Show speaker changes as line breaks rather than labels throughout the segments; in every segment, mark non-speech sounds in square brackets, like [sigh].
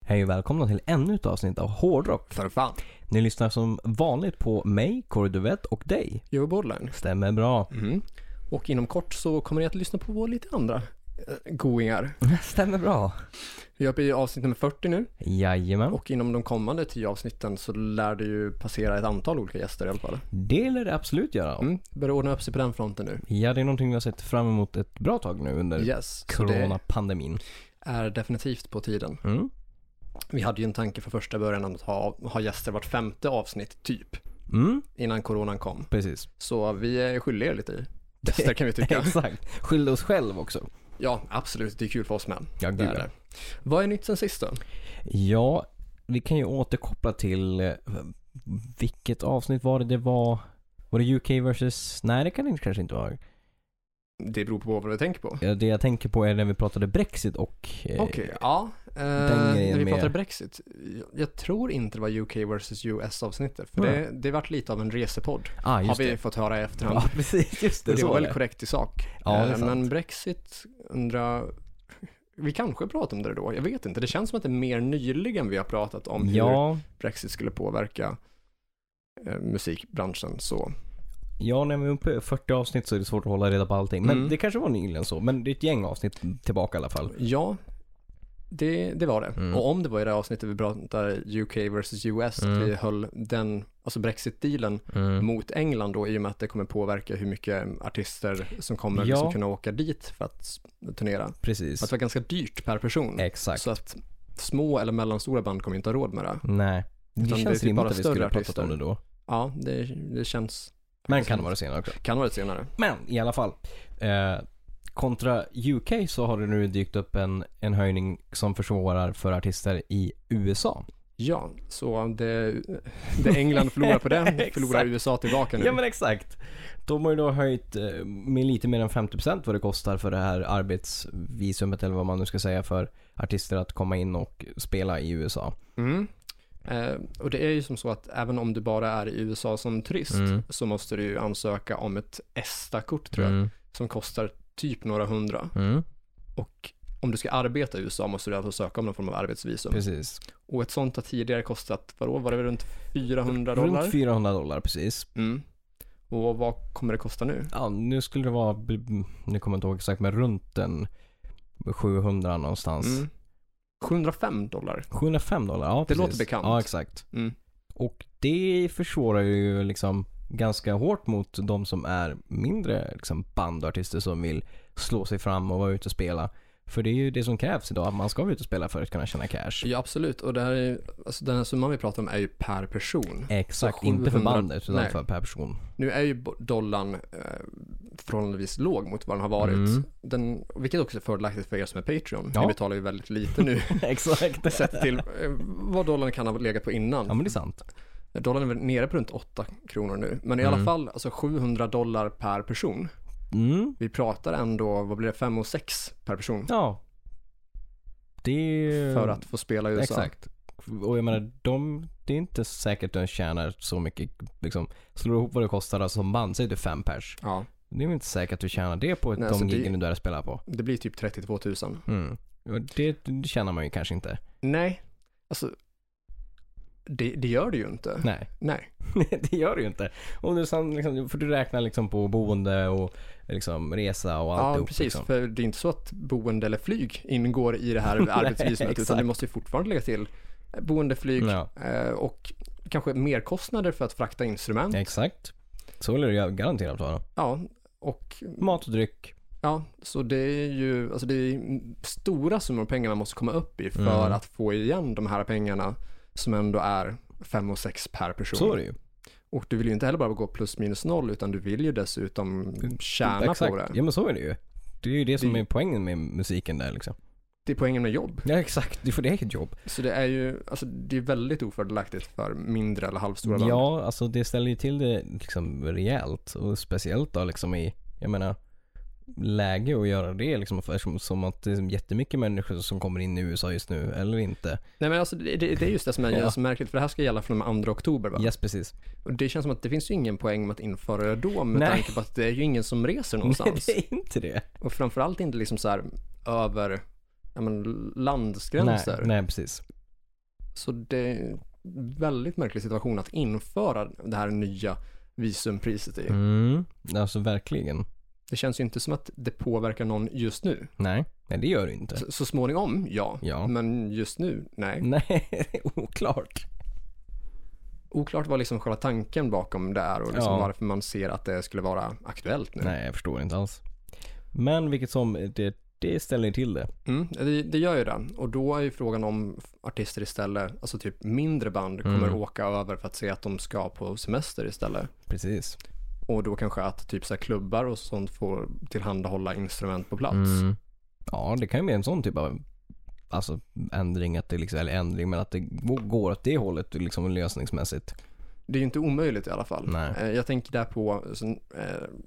Hej och välkomna till ännu ett avsnitt av Hårdrock.
För fan.
Ni lyssnar som vanligt på mig, Kåre Duvett och dig.
Joey Borderline.
Stämmer
[laughs]
bra.
Mm. Och inom kort så kommer ni att lyssna på lite andra eh, goingar.
Stämmer bra.
Vi är uppe i avsnitt nummer 40 nu
Jajamän.
och inom de kommande 10 avsnitten så lär det ju passera ett antal olika gäster i alla fall.
Det lär det absolut göra.
Mm. Börjar ordna upp sig på den fronten nu.
Ja, det är någonting vi har sett fram emot ett bra tag nu under
Yes, så det
coronapandemin.
är definitivt på tiden.
Mm.
Vi hade ju en tanke från första början om att ha, ha gäster vart femte avsnitt typ
Mm,
innan coronan kom. [laughs]
precis.
Så vi är skyldiga er lite i gäster kan vi [laughs] tycka.
Exakt. Skyll oss själv också.
Ja, absolut. Det är kul för oss med.
Ja,
Det är det. Vad är nytt sen sist då?
Ja, vi kan ju återkoppla till eh, vilket avsnitt var det det var? Var det UK versus? Nej, det kan det kanske inte vara.
Det beror på vad du tänker på.
Ja, Det jag tänker på är när vi pratade Brexit och... eh,
Okej, ja. Eh,
den grejen
när vi
med-
pratade Brexit, jag, jag tror inte det var UK vs US avsnittet, för
Nej.
det, det vart lite av en resepodd,
Ah,
har
just
vi
det.
fått höra i efterhand.
Ja, precis. Just det.
Och det
så
var
var
väl
det.
korrekt i sak.
Ja, det är
Eh,
sant.
men Brexit, undrar, vi kanske pratar om det då, jag vet inte. Det känns som att det är mer nyligen vi har pratat om hur
Ja,
Brexit skulle påverka eh, musikbranschen så.
ja, när vi är uppe i 40 avsnitt så är det svårt att hålla reda på allting. Men
Mm.
det kanske var nyligen så. Men det är ett gäng avsnitt tillbaka i alla fall.
Ja, det, det var det.
Mm.
Och om det var i det här avsnittet vi pratade UK vs US,
Mm.
att vi höll den, alltså Brexit-dealen mot England då, i och med att det kommer påverka hur mycket artister som kommer
Ja.
liksom kunna åka dit för att turnera.
Precis.
För att det var ganska dyrt per person.
Exakt.
Så att små eller mellanstora band kommer inte ha råd med det.
Nej. Det
Utan det är
känns
typ
rimligt
bara
att vi
större
skulle ha pratat
artister.
om det då.
Ja, det, det känns,
Men kan det vara senare också.
kan vara det senare.
Men i alla fall. Eh, kontra UK så har det nu dykt upp en, en höjning som försvårar för artister i USA.
Ja, så det, det England förlorar på det
[laughs] Exakt.
förlorar USA tillbaka nu.
Ja men exakt. De har ju då höjt eh, med lite mer än 50% vad det kostar för det här arbetsvisumet eller vad man nu ska säga för artister att komma in och spela i USA.
Mm. Eh, och det är ju som så att även om du bara är i USA som turist
Mm.
så måste du ju ansöka om ett ESTA-kort tror jag, som kostar typ några hundra.
Mm.
Och om du ska arbeta i USA måste du alltså söka om någon form av arbetsvisum.
Precis.
Och ett sånt har tidigare kostat, vadå, var det väl runt 400 dollar?
Runt 400 dollar precis.
Mm. Och vad kommer det kosta nu?
Ja, nu skulle det vara, nu kommer jag inte ihåg exakt men runt den 700 någonstans.
Mm. 705 dollar.
705 dollar, ja precis.
låter bekant.
Ja exakt.
Mm.
Och det försvårar ju liksom ganska hårt mot de som är mindre liksom bandartister som vill slå sig fram och vara ute och spela. För det är ju det som krävs idag, att man ska vara ute och spela för att kunna tjäna cash.
Ja, absolut. Och det här är, alltså, den här summan vi pratar om är ju per person.
Exakt,
Så
inte för
700
bandet utan
nej.
för per person.
[laughs]
[laughs]
Nu är ju bo- dollarn eh, förhållandevis låg mot vad den har varit.
Mm.
Den, vilket också är fördelaktigt för er som är Patreon.
Ja.
Ni betalar ju väldigt lite [laughs] nu.
Exakt.
sett till eh, vad dollarn kan ha legat på innan.
Ja men det är sant.
Dollarn är väl nere på runt 8 kronor nu. Men i alla fall alltså 700 dollar per person.
Mm.
Vi pratar ändå, vad blir det, 5 och 6 per person.
Ja. Det är ju...
För att få spela i USA.
Exakt. Och jag menar, de, det är inte säkert de tjänar så mycket. Liksom, slår du ihop vad det kostar alltså, som band, säg du fem pers.
Ja,
Det är väl inte säkert att du tjänar det på
Nej,
de
så det-
giggen du där spelar på.
det blir typ 32 000.
Mm. Och Det, det tjänar man ju kanske inte.
Nej, alltså det, det gör det ju inte.
Nej, [laughs]
Nej.
det gör du ju inte. Och du, sen, liksom, för du räknar liksom på boende och liksom, resa och allt
Ja, precis.
Liksom.
För det är inte så att boende eller flyg ingår i
[laughs]
det här arbetsvisumet, utan
exakt.
du måste ju fortfarande lägga till boende, flyg
Ja,
eh, och kanske merkostnader för att frakta instrument.
exakt. Så vill du garanterat vara.
Ja, och
Mat och dryck.
ja, så det är ju alltså det är stora summor pengar man måste komma upp i för
Mm.
att få igen de här pengarna som ändå är fem och sex per person.
Så är det ju.
Och du vill ju inte heller bara gå plus minus noll, utan du vill ju dessutom tjäna
exakt.
på det.
Ja, men så är det ju. Det är ju det som
Det-
är poängen med musiken där liksom.
Det är poängen med jobb.
Ja, exakt. Du får det eget jobb.
Så det är ju, alltså det är väldigt ofördelaktigt för mindre eller halvstora band.
Ja, alltså det ställer ju till det liksom rejält. Och speciellt då liksom i, jag menar, läge att göra det liksom. Eftersom som att det är jättemycket människor som kommer in i USA just nu, eller inte.
Nej men alltså det, det, det är just det som är
Ja.
så märkligt, för det här ska gälla från den 2 oktober va?
Yes, [laughs] precis.
Och det känns som att det finns ju ingen poäng med att införa det då, med
Nej.
tanke på att det är ju ingen som
[laughs]
reser
Nej,
någonstans.
det är inte det.
Och framförallt inte liksom så här över ja, men, landsgränser.
Nej, nej, precis.
Så det är en väldigt märklig situation att införa det här nya visumpriset i.
Mm. Alltså verkligen.
Det känns ju inte som att det påverkar någon just nu.
Nej, nej det gör det inte.
Så, så småningom, ja.
Ja. Mm.
Men just nu, nej.
Nej, [laughs] det är oklart.
Oklart vad liksom själva tanken bakom det är och liksom
Ja.
varför man ser att det skulle vara aktuellt nu.
Nej, jag förstår inte alls. Men vilket som, det, det ställer till det.
Mm, det, det gör ju det. Och då är ju frågan om artister istället, alltså typ mindre band, kommer
Mm.
åka över för att se att de ska på semester istället.
Precis.
Och då kanske att typ så här klubbar och sånt får tillhandahålla instrument på plats.
Mm. Ja, det kan ju bli en sån typ av alltså, ändring, att det liksom, eller ändring, men att det g- går åt det hållet liksom lösningsmässigt.
Det är ju inte omöjligt i alla fall.
Nej.
Eh, Jag tänker där på, så, eh,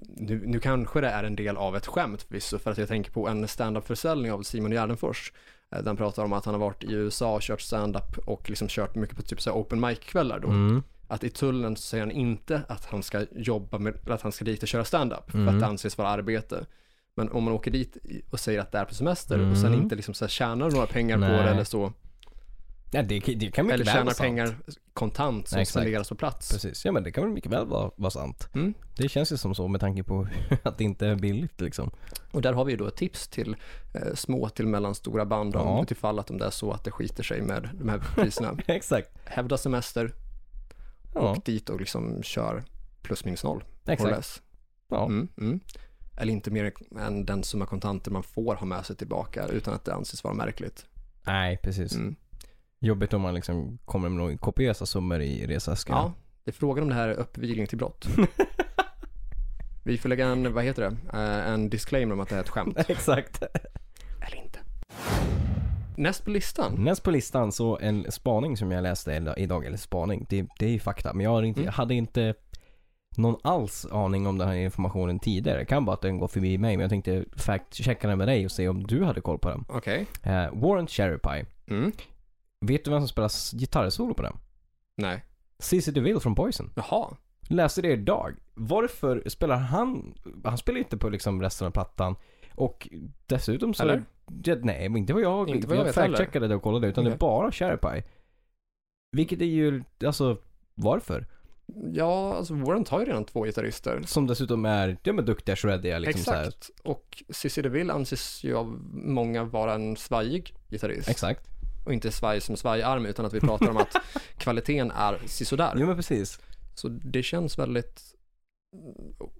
nu, nu kanske det är en del av ett skämt förvisso, för att jag tänker på en standup-försäljning av Simon Gärdenfors. Eh, Den pratar om att han har varit i USA och kört standup och liksom kört mycket på typ så här open mic-kvällar då.
Mm.
Att i tullen så säger han inte att han ska jobba med, eller att han ska dit och köra standup, för
Mm.
att det anses vara arbete. Men om man åker dit i- och säger att det är på semester och sen
Mm.
inte liksom så här tjänar några pengar på
Nej.
det eller så,
Ja, det, kan- det kan mycket väl
eller
vara
tjänar
sant.
pengar kontant som
Nej, exakt.
spenderas på plats.
Precis, ja men det kan väl mycket väl vara, vara sant.
Mm.
Det känns ju som så med tanke på [laughs] att det inte är billigt liksom. [laughs]
Och där har vi ju då ett tips till eh, små till mellanstora band om
Ja.
ja. ifall att om det är så att det skiter sig med de här
[laughs]
priserna.
Exakt.
Hävda semester,
Ja,
dit och liksom kör plus minus noll.
exakt.
Exakt.
Ja.
Mm, mm. Eller inte mer än den summa kontanter man får ha med sig tillbaka utan att det anses vara märkligt.
Nej, precis.
Mm.
Jobbigt om man liksom kommer med några kopiösa summor i resaskarna.
Ja, det är frågan om det här är uppvigling
[laughs]
till brott. Vi får lägga en, vad heter det, Eh, en disclaimer om att det här är ett skämt.
[laughs] Exakt.
Eller inte. Näst på listan.
Näst på listan så en spaning som jag läste ila- idag, eller spaning, det, det är ju fakta. Men jag, har inte,
Mm.
jag hade inte någon alls aning om den här informationen tidigare. Det kan vara att den går förbi mig, men jag tänkte fact-checka den med dig och se om du hade koll på den.
Okej.
Eh, Warren Cherry Pie.
Mm.
Vet du vem som spelar s- gitarrsolo på den?
Nej.
Cissi DeVille från Poison.
Jaha.
Läste det idag. Varför spelar han, han spelar ju inte på liksom resten av plattan. Och dessutom så...
Eller?
Ja, nej, men inte vad jag...
Inte vad jag vet heller.
fact-checkade det och kollade utan det är
Okej.
bara Cherry Pie. Vilket är ju, alltså varför?
Ja, alltså Warren har ju redan två gitarrister.
Som dessutom är, ja men duktiga shreddiga liksom så här.
Exakt. Och Cissi DeVille anses ju av många vara en svajig gitarrist.
Exakt.
Och inte svaj som svajarm utan att vi pratar
[laughs]
om att kvaliteten är sisådär.
Jo men precis.
Så det känns väldigt... Mm,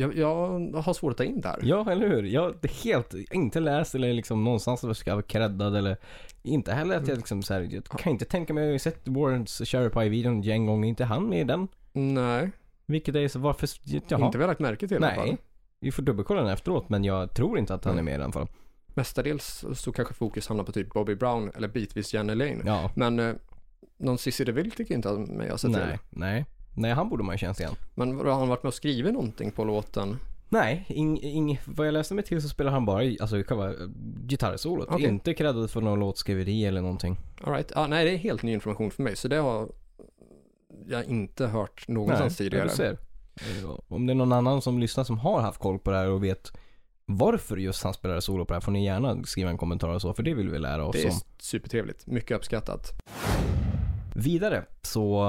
Jag, jag har svårt att ta in det här.
Ja, eller hur? Jag har helt, inte läst eller liksom någonstans att jag ska vara creddad eller inte heller att jag
Mm.
liksom så här, jag kan inte tänka mig, jag har ju sett Warrens Cherry Pie-videon en gång, är inte han med i den?
Nej,
Vilket är så varför, jaha.
inte vad jag lagt märke till i alla fall.
Nej. Vi får dubbelkolla den efteråt men jag tror inte att han är med i den fall.
Mestadels så kanske fokus hamnar på typ Bobby Brown eller bitvis Jenny Lane.
Ja.
Men eh, någon Cissi DeVille tycker inte att mig har sett till.
Nej, nej. Nej, han borde man ju känna igen.
Men vadå, har han varit med och skrivit någonting på låten?
Nej, ing, ing, vad jag läste mig till så spelar han bara i- alltså, själva eh, gitarrsolot.
Okej.
Inte creddad för någon låtskriveri eller någonting.
All right. ah, nej, det är helt ny information för mig, så det har jag inte hört någonstans
Nej,
tidigare.
du ser. Eh, Om det är någon annan som lyssnar som har haft koll på det här och vet varför just han spelar solo på det här får ni gärna skriva en kommentar och så för det vill vi lära oss
Det är
om.
supertrevligt, mycket uppskattat.
Vidare så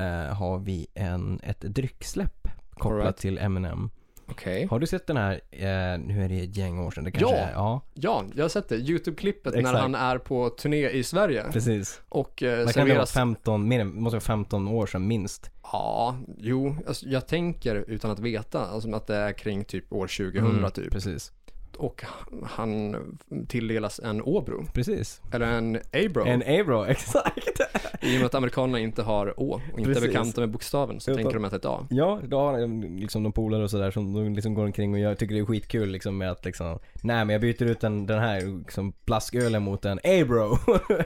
eh, har vi en, ett drycksläpp kopplat
Alright.
till Eminem.
Okej.
Har du sett den här, eh, nu är det ett gäng år sedan, det kanske
Ja.
är, ja
Ja, jag har sett det. YouTube-klippet när
Exakt.
han är på turné i Sverige
precis.
och eh,
Vad kan det vara,
serveras...
15, mer än, måste vara 15 år sedan minst.
Ja, jo, alltså, jag tänker utan att veta, alltså att det är kring typ år 2000
Mm,
typ.
Precis,
Och han tilldelas en Åbro,
precis.
eller en A-bro,
En Abro, [laughs] exakt.
i och med att amerikanerna inte har Å och inte
Precis.
är bekanta med bokstaven så
Utan-
tänker de att det är ett A.
Ja, då har han liksom de polare och sådär som de liksom går omkring och jag tycker det är skitkul liksom med att liksom Nej men jag byter ut den, den här liksom plaskölen mot en Abro.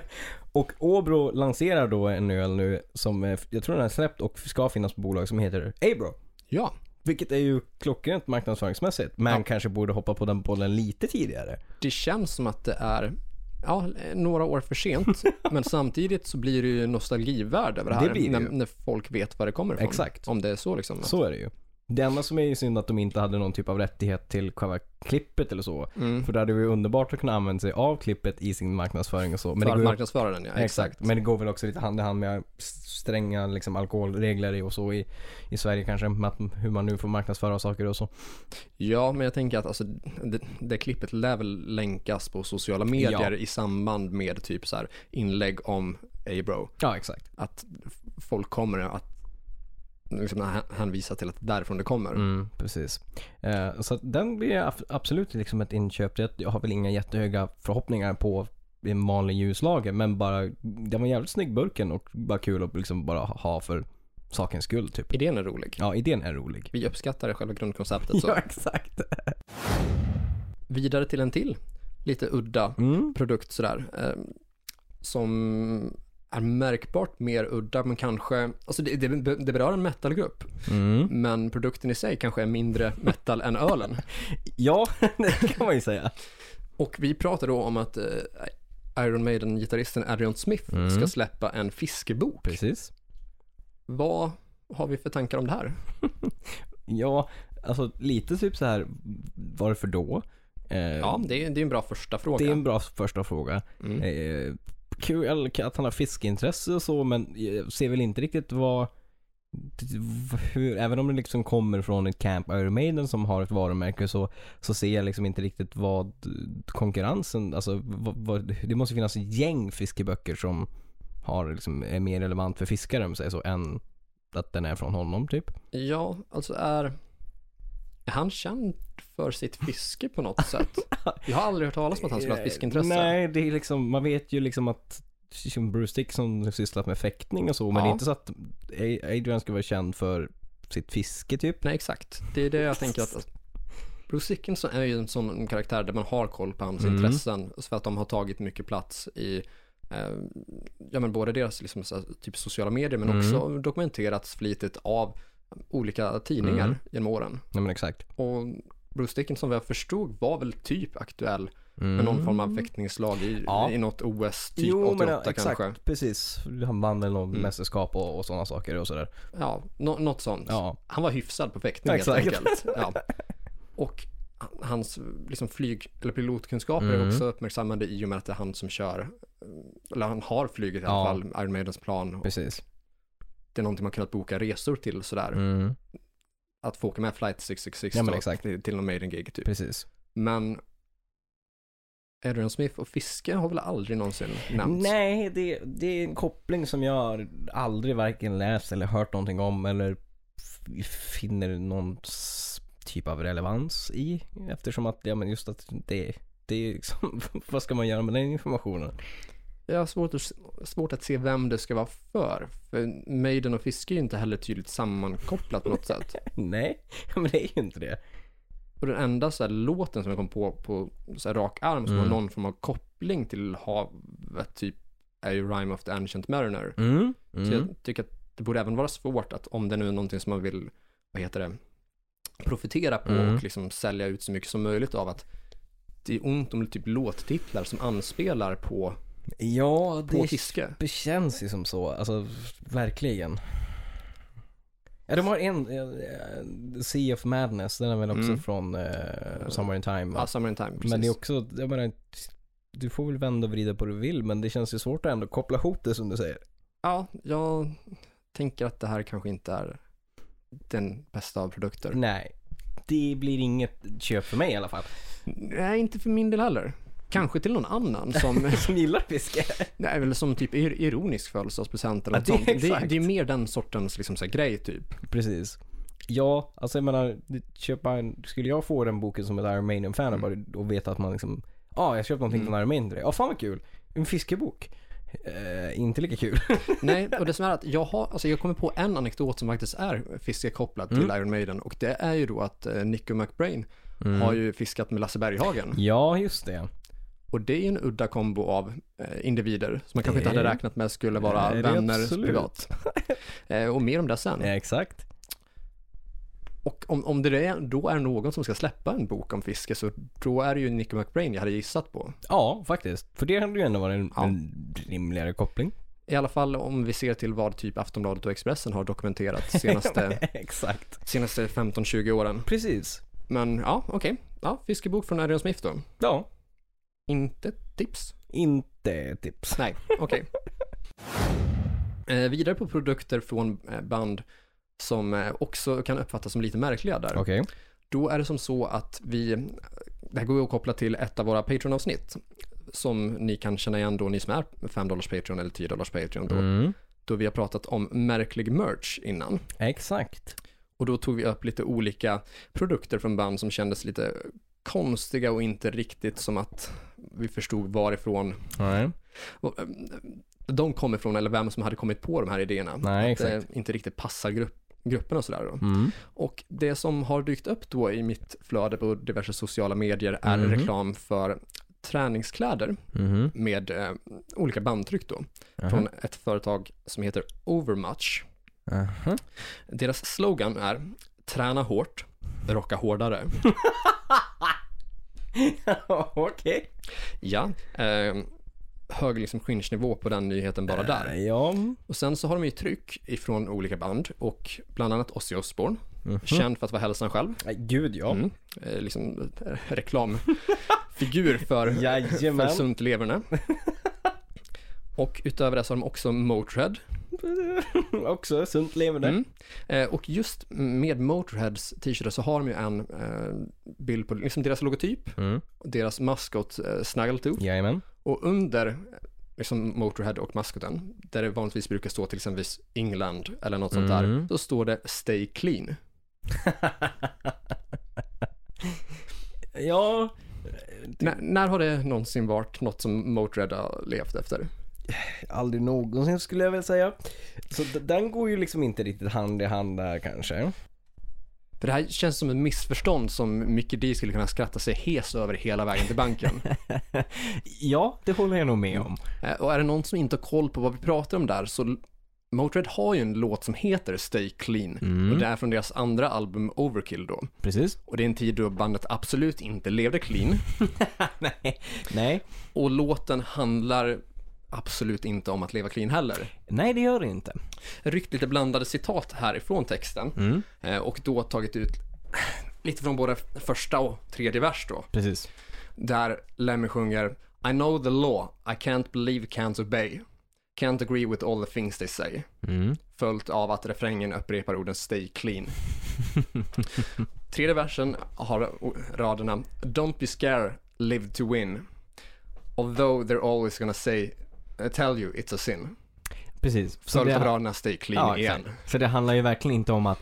[laughs] och Åbro lanserar då en öl nu som eh, jag tror den är släppt och ska finnas på bolag som heter Abro.
Ja,
Vilket är ju klockrent marknadsföringsmässigt. Men
Ja.
kanske borde hoppa på den bollen lite tidigare.
det känns som att det är Ja, några år
[laughs]
för sent, men samtidigt så blir det ju nostalgivärde över det här
Det blir det
när,
ju.
när folk vet var det kommer ifrån.
Exakt.
Om det är så liksom.
Så är det ju. Det enda som är synd att de inte hade någon typ av rättighet till själva klippet eller så.
Mm.
För det hade varit underbart att kunna använda sig av klippet i sin marknadsföring och så. Men
För
det
att
går,
marknadsföra den ja,
exakt. Men det går väl också lite hand i hand med stränga liksom, alkoholregler i och så i, i Sverige kanske. Med att, hur man nu får marknadsföra saker och så.
Ja, men jag tänker att alltså, det, det klippet lär väl länkas på sociala medier
Ja.
i samband med typ så här inlägg om A-bro.
Ja, exakt.
Att f- folk kommer att liksom, h- hänvisa till att det är därifrån det kommer.
Mm, precis. Eh, så att den blir ab- absolut liksom ett inköp. Jag jag har väl inga jättehöga förhoppningar på en vanlig ljuslager men bara den var jävligt snygg burken och bara kul att liksom bara ha för sakens skull typ.
Idén är rolig.
Ja, idén är [laughs] rolig. Alltså.
Vi uppskattar själva grundkonceptet. Så.
exakt.
Vidare till en till lite udda
Mm.
produkt sådär. Eh, som är märkbart mer udda men kanske, alltså det, det, det berör en metalgrupp.
Mm.
Men produkten i sig kanske är mindre metal än ölen.
Ja, [laughs] det kan man ju säga.
Och vi pratar då om att eh, Iron Maiden-gitarristen Arion Smith
Mm.
ska släppa en fiskebok.
Precis.
Vad har vi för tankar om det här?
Ja, alltså lite typ så här varför då? Eh,
Ja, det är, det är en bra första fråga.
det är en bra första fråga.
Mm.
Eh, kul att han har fiskeintresse och så men jag ser väl inte riktigt vad hur, även om det liksom kommer från ett Camp Iron Maiden som har ett varumärke så, så ser jag liksom inte riktigt vad konkurrensen, alltså vad, vad, det måste finnas ett gäng fiskeböcker som har liksom, är mer relevant för fiskare om man säger så än att den är från honom typ.
Ja, alltså är, är han känd för sitt fiske på
[laughs]
något sätt? Jag har aldrig hört talas om att han skulle ha ett fiskeintresse.
Eh, Nej, det är liksom, man vet ju liksom att som Bruce Dickinson sysslat med fäktning och så, men
Ja.
det är inte så att Adrian ska vara känd för sitt fiske typ.
Nej, exakt. Det är det jag tänker att alltså, Bruce Dickinson är ju en sån karaktär där man har koll på hans
Mm.
intressen för att de har tagit mycket plats i eh, ja, men både deras liksom, så här, typ sociala medier men
Mm.
också dokumenterats flitigt av olika tidningar
Mm.
genom åren.
Nej men exakt.
Och Bruce Dickinson vad jag förstod var väl typ aktuell med någon form av fäktningslag i,
Mm. Ja.
i något OS typ
jo,
88
men ja, exakt,
kanske.
precis. Han vann väl något
Mm.
mästerskap och, och sådana saker och sådär.
Ja, nå- något sånt.
Ja.
Han var hyfsad på fäktning helt
Exakt. [laughs]
enkelt. Ja. Och hans liksom, flyg eller pilotkunskaper är
Mm.
också uppmärksammade i och med att det är han som kör, eller han har flugit i alla
Ja.
fall, Iron Maidens plan. Och
Precis.
det är någonting man kunnat boka resor till sådär.
Mm.
Att få åka med Flight 666
Ja, men
då,
exakt.
till, till någon Maiden-gig typ.
Precis.
Men Adrian Smith och fiske har väl aldrig någonsin nämnts?
Nej, det, det är en koppling som jag aldrig varken läst eller hört någonting om eller f- finner någon s- typ av relevans i. Eftersom att, ja men just att det, det är liksom, [laughs] vad ska man göra med den informationen? [laughs]
Jag har svårt att, svårt att se vem det ska vara för. För Maiden och fiske är ju inte heller tydligt sammankopplat på något sätt.
Nej, [laughs] men det är ju inte det.
Och den enda så här låten som jag kom på på så här rak arm som
Mm.
har någon form av koppling till havet typ är ju Rhyme of the Ancient Mariner.
Mm.
Så jag tycker att det borde även vara svårt att om det nu är någonting som man vill, vad heter det, profitera på
Mm.
och liksom sälja ut så mycket som möjligt av att det är ont om typ låttitlar som anspelar på,
Ja,
på
det
fiske.
Det känns ju som så, alltså verkligen. Ja, de har en, eh, Sea of Madness, den är väl också
Mm.
från eh, Somewhere in Time.
Ja, Summer in Time, precis.
men det är också, jag menar, du får väl vända och vrida på det du vill, men det känns ju svårt att ändå koppla ihop det som du säger.
Ja, jag tänker att det här kanske inte är den bästa av produkter.
Nej, det blir inget köp för mig i alla fall. [laughs]
Nej, inte för min del heller. Kanske till någon annan som,
[laughs] Som gillar fiske.
nej, eller som typ ir- ironisk födelsedagspresent eller
Ja,
något
det är
sånt. Det, är-
exakt.
det är mer den sortens liksom, så här, grej typ.
Precis. Ja, alltså jag menar, det- köpa en, skulle jag få den boken som ett Iron Maiden-fan och bara- och veta att man liksom, ja ah, jag köpte någonting från Iron Maiden till dig. Ja fan vad kul. En fiskebok. Eh, inte lika kul. [laughs]
Nej, och det som är att jag har, alltså jag kommer på en anekdot som faktiskt är fiskekopplad till
Mm.
Iron Maiden och det är ju då att eh, Nico McBrain
Mm.
har ju fiskat med Lasse Berghagen.
ja, just det.
Och det är ju en udda kombo av eh, individer som man kanske inte
Det-
hade räknat med skulle vara
Nej, det är
vänner
absolut. [laughs]
privat. Eh, och mer om det sen.
Ja, exakt.
Och om, om det är, då är någon som ska släppa en bok om fiske så då är det ju Nico McBrain jag hade gissat på.
Ja, faktiskt. För det hade ju ändå varit en,
Ja.
en rimligare koppling.
I alla fall om vi ser till vad typ Aftonbladet och Expressen har dokumenterat senaste,
[laughs] Exakt.
senaste 15-20 åren.
Precis.
Men ja, okej. Ja, fiskebok från Adrian Smith då.
Ja.
Inte ett tips?
Inte tips.
Nej, okej. eh, vidare på produkter från eh, band som eh, också kan uppfattas som lite märkliga där.
Okej.
Då är det som så att vi, det här går ju att koppla till ett av våra Patreon-avsnitt som ni kan känna igen då, ni som är 5 Patreon eller 10 Patreon då,
Mm.
då vi har pratat om märklig merch innan.
Exakt.
Och då tog vi upp lite olika produkter från band som kändes lite konstiga och inte riktigt som att vi förstod varifrån
Nej.
och, eh, de kom ifrån eller vem som hade kommit på de här idéerna.
Nej,
att det inte riktigt passar grupp, grupperna och sådär. Då.
Mm.
Och det som har dykt upp då i mitt flöde på diverse sociala medier är
Mhm.
reklam för träningskläder
Mhm.
med eh, olika bandtryck då
Aha.
från ett företag som heter Overmatch.
Aha.
Deras slogan är träna hårt,
[laughs]
rocka hårdare.
[laughs] Okej.
Ja, eh, hög liksom cringe-nivå på den nyheten bara där.
Ja.
Och sen så har de ju tryck ifrån olika band och bland annat Ozzy Osbourne,
Mhm.
känd för att vara hälsan själv.
Nej, Gud ja.
Mm. Eh, liksom eh,
[laughs]
reklamfigur för för
Jajamän.
sunt leverne.
[laughs]
Och utöver det så har de också Motörhead.
Också sunt levande.
Mm. Eh, och just med Motörheads t-shirtar så har de ju en eh, bild på liksom deras logotyp,
Mm.
deras maskot eh, Snaggletooth
Jajamän.
och under eh, liksom Motörhead och maskoten, där det vanligtvis brukar stå till exempel England eller något sånt där,
Mm.
så står det Stay Clean.
ja,
N- när har det någonsin varit något som Motörhead har levt efter?
aldrig någonsin skulle jag väl säga. Så d- den går ju liksom inte riktigt hand i hand där kanske.
För det här känns som ett missförstånd som Mickey D skulle kunna skratta sig hes över hela vägen till banken.
ja, det håller jag nog med om.
Eh, Och är det någon som inte har koll på vad vi pratar om där så Motörhead har ju en låt som heter Stay Clean och det är från deras andra album Overkill då.
Precis.
Och det är en tid då bandet absolut inte levde clean
nej. [laughs] nej.
och låten handlar absolut inte om att leva clean heller.
Nej, det gör det inte.
Ryckt lite blandade citat härifrån texten
Mm.
eh, och då tagit ut lite från både första och tredje vers då.
Precis.
där Lemmy sjunger I know the law, I can't believe, can't obey. Can't agree with all the things they say.
Mm.
Följt av att refrängen upprepar orden stay
[laughs]
clean. Tredje versen har raderna Don't be scared, live to win. Although they're always gonna say, tell you it's a sin.
Precis. Så
Följt av
det,
raderna stay clean
ja,
igen.
exakt. så det handlar ju verkligen inte om att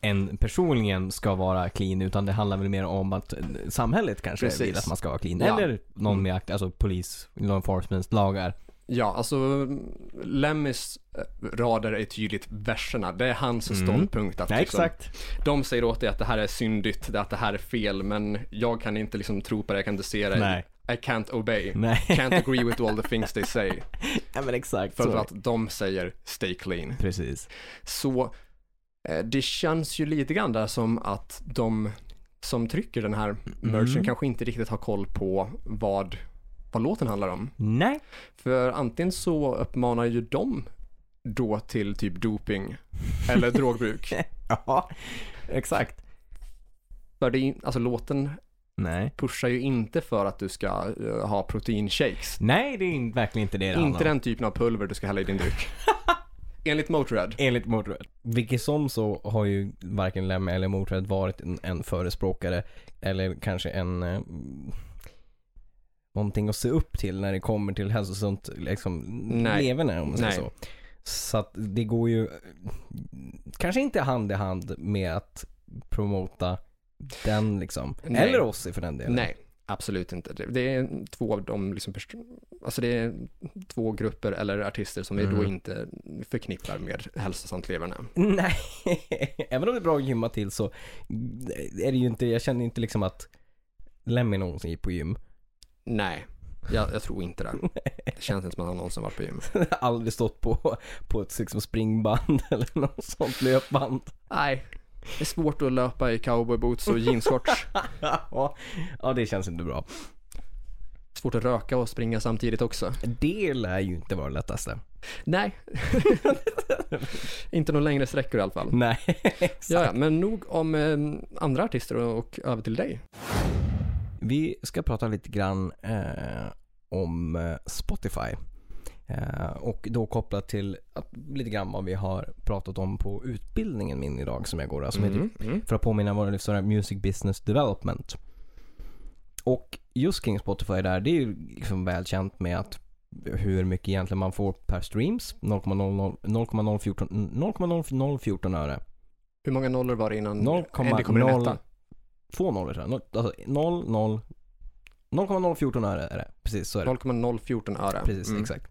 en personligen ska vara clean utan det handlar väl mer om att samhället kanske
Precis.
vill att man ska vara clean.
Ja.
Eller någon med akt, alltså polis, law enforcement, lagar.
Ja, alltså Lemmys eh, rader är tydligt verserna. Det är hans ståndpunkt att
Ja,
liksom,
Mm. exakt.
De säger åt dig att det här är syndigt, att det här är fel, men jag kan inte liksom tro på det, jag kan inte se det.
Nej. Mm.
I can't obey.
Nej,
Can't agree with all the things they say.
[laughs] ja, men exakt
För
så.
att de säger stay clean.
Precis.
Så eh, det känns ju lite grann där som att de som trycker den här merchen
Mm.
kanske inte riktigt har koll på vad, vad låten handlar om.
Nej.
För antingen så uppmanar ju de då till typ doping
[laughs]
eller drogbruk.
Ja, exakt.
För det är, ju- alltså låten
Nej.
pushar ju inte för att du ska eh, ha proteinshakes.
Nej, det är in- verkligen inte det det handlar
Inte
om.
den typen av pulver du ska hälla i
[laughs]
din dryck. Enligt Motörhead.
Enligt Motörhead. Vilket som så har ju varken Lemmy eller Motörhead varit en, en förespråkare eller kanske en eh, mm, någonting att se upp till när det kommer till hälsosamt liksom,
Nej.
leverne om man säger
Nej.
så. Så att det går ju eh, kanske inte hand i hand med att promota den liksom.
Nej.
Eller oss i för den delen.
Nej, absolut inte. Det- Det är två av de liksom, pers- alltså det är två grupper eller artister som vi då
Mm.
inte förknippar med hälsosamt leverne.
[laughs] Nej, även om det är bra att gymma till så eh, är det ju inte, jag känner inte liksom att Lemmy någonsin gick på gym.
Nej, jag, jag tror inte det.
[laughs]
Det känns inte som att han någonsin varit på gym.
Aldrig stått på, på ett liksom springband [laughs] eller något sånt löpband. [laughs]
Nej, det är svårt att löpa i cowboyboots och jeansshorts.
ja, det känns inte bra.
[laughs] Svårt att röka och springa samtidigt också.
Det lär ju inte vara det lättaste.
Nej. [laughs] inte någon längre sträckor i alla fall.
Nej. [laughs]
Ja, ja, men nog om eh, andra artister och, och över till dig.
Vi ska prata lite grann eh, om eh, Spotify. Eh, och då kopplat till att, lite grann vad vi har pratat om på utbildningen min idag som jag går. Alltså,
Mm, mm.
För att påminna vad det lyfter här, Music Business Development. Och just kring Spotify där, det är ju liksom välkänt med att hur mycket egentligen man får per streams. 0,00 0,014 0,0014 öre.
Hur många nollor var det innan?
0,0
eh, det kommer en etta?
Två nollor tror jag. Noll- Alltså 0, 0, 0,014 öre är det. Precis, så är det.
0,014 öre.
Precis,
Mm.
exakt.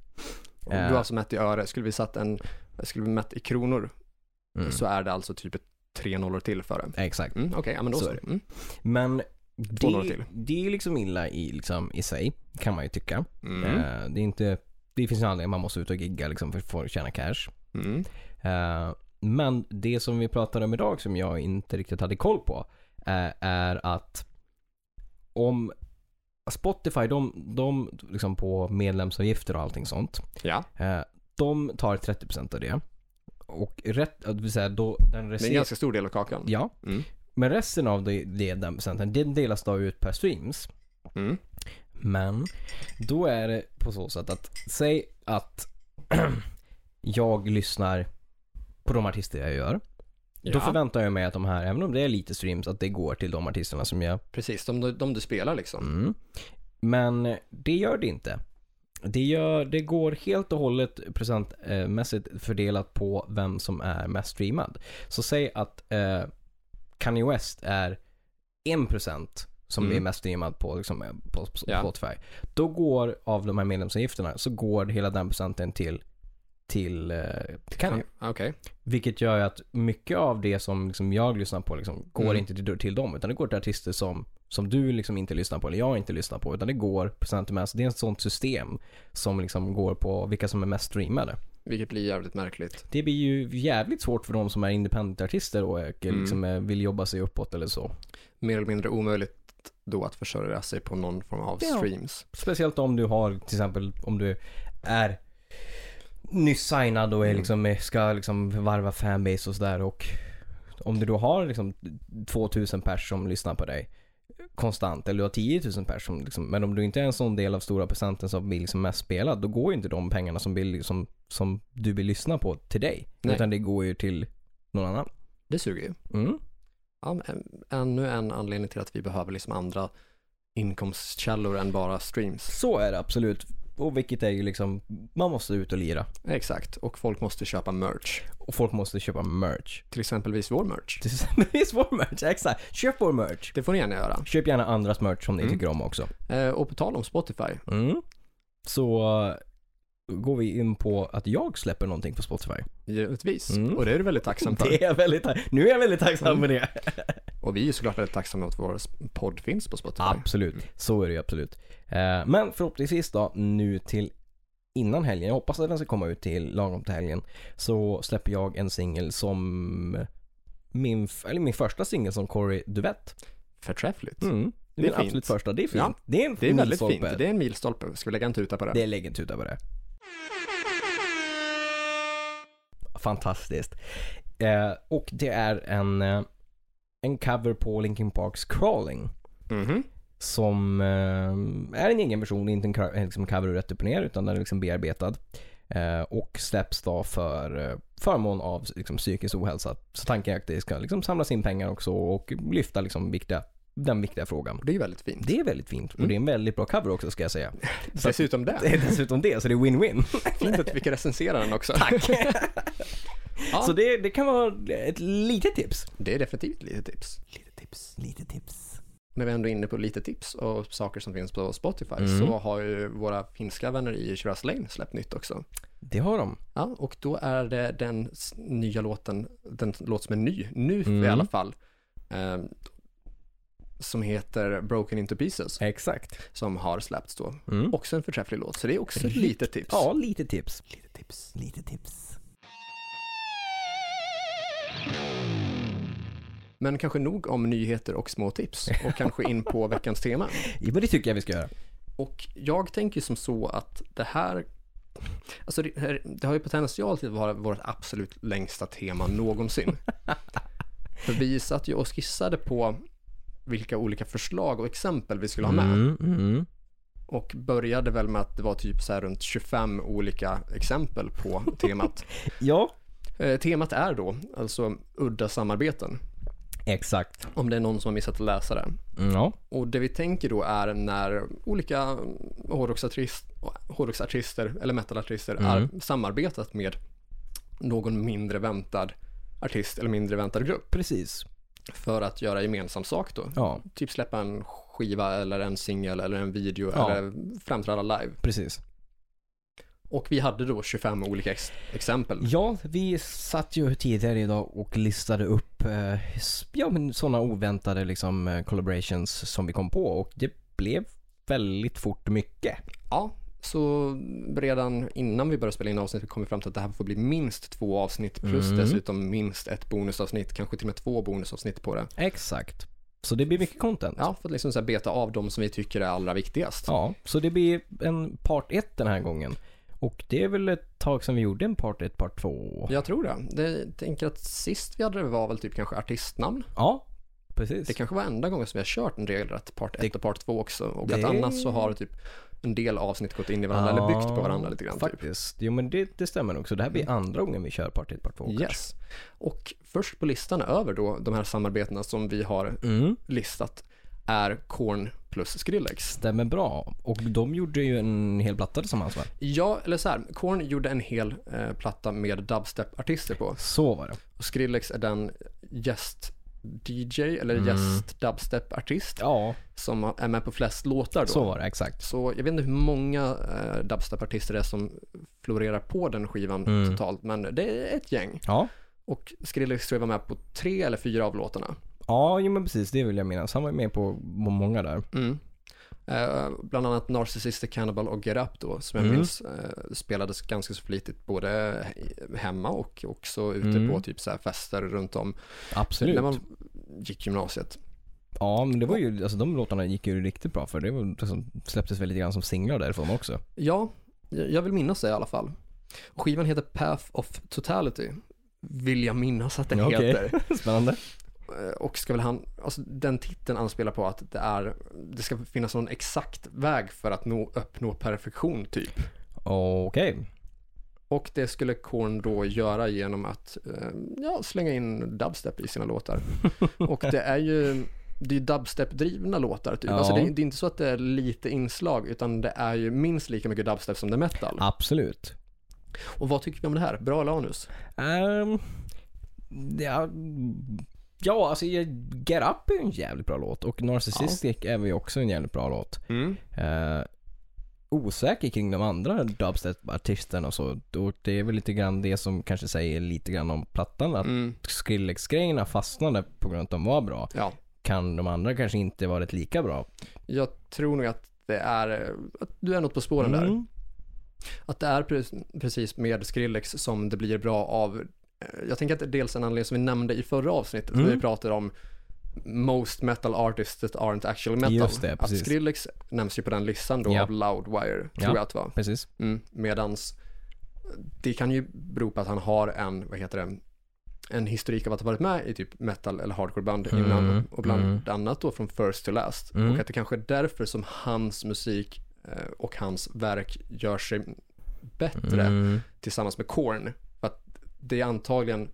Och Du har alltså mätt i öre. Skulle vi satt en, skulle vi mätt i kronor
Mm.
så är det alltså typ ett tre nollor till för det.
Exakt.
Mm, Okej, ja, men då
Så
så.
är det.
Mm.
Men
Två nollor
det,
till.
det är liksom illa i, liksom, i sig, kan man ju tycka.
Mm.
Eh, det, är inte, det finns en anledning man måste ut och gigga liksom, för att få tjäna cash.
Mm.
Eh, men det som vi pratade om idag som jag inte riktigt hade koll på eh, är att om Spotify, de, de liksom på medlemsavgifter och allting sånt.
Ja,
Eh, De tar 30% av det. Och rätt, det vill säga då den
det är en
resterande...
ganska stor del av kakan.
Ja.
Mm.
Men resten av det, det, den procenten, den delas då ut per streams.
Mm.
Men då är det på så sätt att, säg att [clears throat] jag lyssnar på de artister jag gör. Då
Ja.
förväntar jag mig att de här, även om det är lite streams, att det går till de artisterna som jag
Precis, de, de du spelar liksom.
Mm. Men det gör det inte. Det, gör, det går helt och hållet procentmässigt fördelat på vem som är mest streamad. Så säg att eh, Kanye West är 1% som
Mm.
är mest streamad på, liksom, eh, på, på
Ja.
Spotify. Då går, av de här medlemsavgifterna, så går hela den procenten till, till, eh, till Kanye.
Mm, Ja, Okej.
Vilket gör ju att mycket av det som liksom jag lyssnar på liksom går
Mm.
inte till, till dem utan det går till artister som, som du liksom inte lyssnar på eller jag inte lyssnar på utan det går procentmässigt. Det är ett sånt system som liksom går på vilka som är mest streamade.
Vilket blir jävligt märkligt.
Det blir ju jävligt svårt för de som är independentartister och eh,
Mm.
liksom eh, vill jobba sig uppåt eller så.
Mer eller mindre omöjligt då att försörja sig på någon form av
Ja.
streams.
Speciellt om du har till exempel om du är nyss signad och är
Mm.
liksom, eh, ska liksom varva fanbase och sådär och om du då har liksom 2000 pers som lyssnar på dig konstant eller du har 10 000 pers som liksom, men om du inte är en sån del av stora procenten som blir liksom mest spelad då går ju inte de pengarna som, vill, som, som du vill lyssna på till dig
Nej.
utan det går ju till någon annan.
Det suger ju.
Mm.
Ja, men än- ännu en anledning till att vi behöver liksom andra inkomstkällor än bara streams.
Så är det absolut och vilket är ju liksom man måste ut och lira
Exakt, och folk måste köpa merch.
och folk måste köpa merch.
Till exempelvis vår merch.
[laughs] Till exempelvis vår merch, exakt. Köp vår merch.
Det får ni gärna göra.
Köp gärna andras merch som ni
Mm.
tycker om också.
Eh, och på tal om Spotify.
Mm. Så eh, går vi in på att jag släpper någonting på
[laughs]
Spotify.
Givetvis.
Mm.
Och det är du väldigt tacksam för.
Det är jag väldigt, ta- nu är jag väldigt tacksam
Mm.
för det.
Och vi är såklart väldigt tacksamma att vår podd finns på Spotify.
Absolut, så är det ju absolut. Eh, Men förhoppningsvis då nu till innan helgen, jag hoppas att den ska komma ut till lagom till helgen, så släpper jag en singel som min, f- eller min första singel som Corey Duvett.
Förträffligt.
Mm. Det
Det
är min
är fint.
absolut första, det är fint.
Ja,
det är en
Det är väldigt
milstolpe.
fint. Det är en milstolpe. Ska vi lägga en tuta på det?
Det lägger inte ut över det. Fantastiskt. Eh, och det är en, eh, en cover på Linkin Parks Crawling.
Mhm.
Som eh, är en egen version, inte en cra- liksom cover rätt upp och ner utan den är liksom bearbetad. Eh, och släpps då för eh, förmån av liksom, psykisk ohälsa. Så tanken är att det ska liksom, samlas in pengar också och lyfta liksom, viktiga, den viktiga frågan.
Och det är väldigt fint.
Det är väldigt fint och det är en väldigt bra cover också ska jag säga. Så att- [laughs]
Dessutom
det
det.
är dessutom det, så det är win-win.
Fint att vi fick recensera den också. [laughs] Tack. ja,
Så det, det kan vara ett litet tips.
det är definitivt lite tips.
Lite tips. Lite tips.
När vi ändå är inne på lite tips och saker som finns på Spotify
Mm.
så har ju våra finska vänner i Shiraz Lane släppt nytt också.
Det har de.
Ja, och då är det den s- nya låten, den låt som är ny, nu
Mm.
i alla fall, ehm, som heter Broken Into Pieces,
Exakt.
som har släppts då.
Mm.
Också en förträfflig låt, så det är också ett litet tips.
Ja, lite tips. Lite tips. Lite tips.
Men kanske nog om nyheter och små tips och kanske in på veckans tema.
Ja, men det tycker jag vi ska göra.
Och jag tänker som så att det här Alltså det, här- det har ju potential till att vara vårt absolut längsta tema någonsin. För vi satt ju och skissade på vilka olika förslag och exempel vi skulle ha med.
Mm, mm.
Och började väl med att det var typ så här runt 25 olika exempel på temat.
Ja,
eh, temat är då alltså udda samarbeten.
exakt.
Om det är någon som har missat att läsa det.
Mm, Ja.
Och det vi tänker då är när olika hårdrocksartist, hårdrocksartister eller metalartister
Mm.
har samarbetat med någon mindre väntad artist eller mindre väntad grupp
Precis.
för att göra gemensam sak då.
Ja,
Typ släppa en skiva eller en singel eller en video
Ja.
eller framträda live.
precis.
Och vi hade då 25 olika ex- exempel.
Ja, vi satt ju tidigare idag och listade upp eh, s- ja, men sådana oväntade liksom, eh, collaborations som vi kom på och det blev väldigt fort mycket.
Ja, så redan innan vi började spela in avsnittet kom vi fram till att det här får bli minst två avsnitt plus
Mm.
dessutom minst ett bonusavsnitt, kanske till och med två bonusavsnitt på det.
Exakt. Så det blir mycket content.
Ja, för att liksom så här beta av de som vi tycker är allra viktigast.
Ja, så det blir en part 1 den här gången. Och det är väl ett tag sedan vi gjorde en part 1, part 2.
Jag tror det. det. Jag tänker att sist vi hade det var väl typ kanske artistnamn.
Ja, precis.
Det kanske var enda gången som vi har kört en regelrätt part 1
Det-
och part 2 också. Och
Det-
att annars så har typ en del avsnitt gått in i varandra eller byggt på varandra lite grann.
Ah,
Typ. Mm.
Faktiskt. Jo men det, det stämmer nog. Så det här blir andra gången vi kör part 1, part 2.
Yes. Och först på listan över då de här samarbetena som vi har
Mm.
listat är Korn plus Skrillex.
Stämmer bra. Och de gjorde ju en hel platta tillsammans va?
Ja, eller så här, Korn gjorde en hel eh, platta med dubstep-artister på.
Så var det.
Och Skrillex är den gäst-DJ eller gäst-dubstep-artist
Mm. Ja,
som är med på flest låtar då.
så var det exakt.
Så jag vet inte hur många eh, dubstep-artister det är som florerar på den skivan
Mm.
totalt, men det är ett gäng.
Ja.
Och Skrillex tror jag var med på tre eller fyra av låtarna.
Ja, jo men precis. Det vill jag minnas. Han var ju med på på många där.
Mm. Eh, bland annat Narcissistic Cannibal och Get Up då, som jag
Mm.
minns eh, spelades ganska så flitigt både he- hemma och också ute
Mm.
på typ så här fester runt om.
Absolut.
När man gick gymnasiet.
Ja, men det var ju, alltså de låtarna gick ju riktigt bra för det var, alltså, släpptes väl lite grann som singlar därifrån
[laughs]
också.
Ja, jag jag vill minnas det i alla fall. Skivan heter Path of Totality, vill jag minnas att den
Ja, okej.
heter.
[laughs] Spännande.
Eh, Och ska väl han, alltså den titeln anspelar på att det är, det ska finnas någon exakt väg för att nå, uppnå perfektion typ.
Okej.
Och det skulle Korn då göra genom att eh, ja, slänga in dubstep i
[laughs]
sina låtar. Och det är ju, det är ju dubstep-drivna låtar typ.
Ja.
Alltså det, är- det är inte så att det är lite inslag, utan det är ju minst lika mycket dubstep som det är metal.
Ah. Absolut.
Och vad tycker vi om det här? Bra eller anus?
Ehm, ja, ja, alltså Get Up är ju en jävligt bra låt och Narcissistic är ju också en jävligt bra låt. Eh, osäker kring de andra dubstep-artisterna och så. Och det är väl lite grann det som kanske säger lite grann om plattan. Att
Mm.
Skrillex-grejerna fastnade på grund av att de var bra.
Ja,
Kan de andra kanske inte varit lika bra?
jag tror nog att det är, eh, att du är något på spåren där.
Mm.
Att det är pre- precis med Skrillex som det blir bra av. eh, Jag tänker att det är dels en anledning som vi nämnde i förra avsnittet
Mm.
när vi pratade om most metal artists that aren't actually metal.
Just det,
att
precis.
Skrillex nämns ju på den listan då
Ja.
av Loudwire, tror
Ja.
jag att det var.
Precis.
Mm. Medans det kan ju bero på att han har en, vad heter det, en historik av att ha varit med i typ metal eller hardcoreband
Mm,
innan och bland
mm.
annat då från first to last.
Mm.
Och att det kanske är därför som hans musik eh, och hans verk gör sig bättre
Mm.
tillsammans med Korn. För att det är antagligen,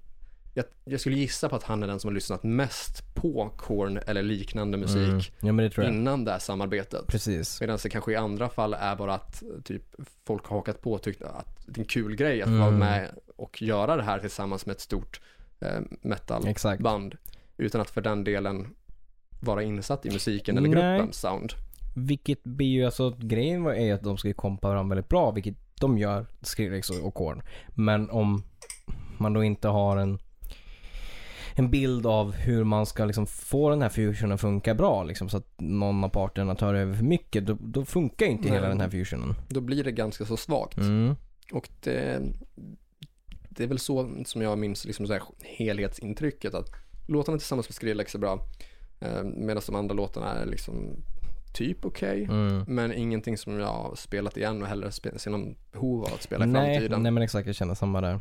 jag, jag skulle gissa på att han är den som har lyssnat mest på Korn eller liknande
Mm.
musik
Ja men det tror jag.
innan det här samarbetet.
Precis.
Medan det kanske i andra fall är bara att eh, typ, folk har hakat på och tyckt att det är en kul grej att
Mm.
vara med och göra det här tillsammans med ett stort eh, metalband.
Exakt.
Utan att för den delen vara insatt i musiken eller
Nej.
gruppens sound.
Vilket blir ju alltså, grejen var- är ju att de ska ju kompa varandra väldigt bra, vilket de gör, Skrillex och och Korn. Men om man då inte har en, en bild av hur man ska liksom få den här fusionen att funka bra, liksom, så att någon av parterna tar över för mycket, då, då funkar ju inte
Nej.
hela den här fusionen.
Då blir det ganska så svagt.
Mm.
Och det, det är väl så som jag minns liksom så här helhetsintrycket att låtarna tillsammans med Skrillex är bra. Eh, Medan de andra låtarna är liksom typ okej.
Mm.
Men ingenting som jag har spelat igen och heller spe- ser någon behov av att spela i
Nej,
framtiden.
nej men exakt, jag känner samma där.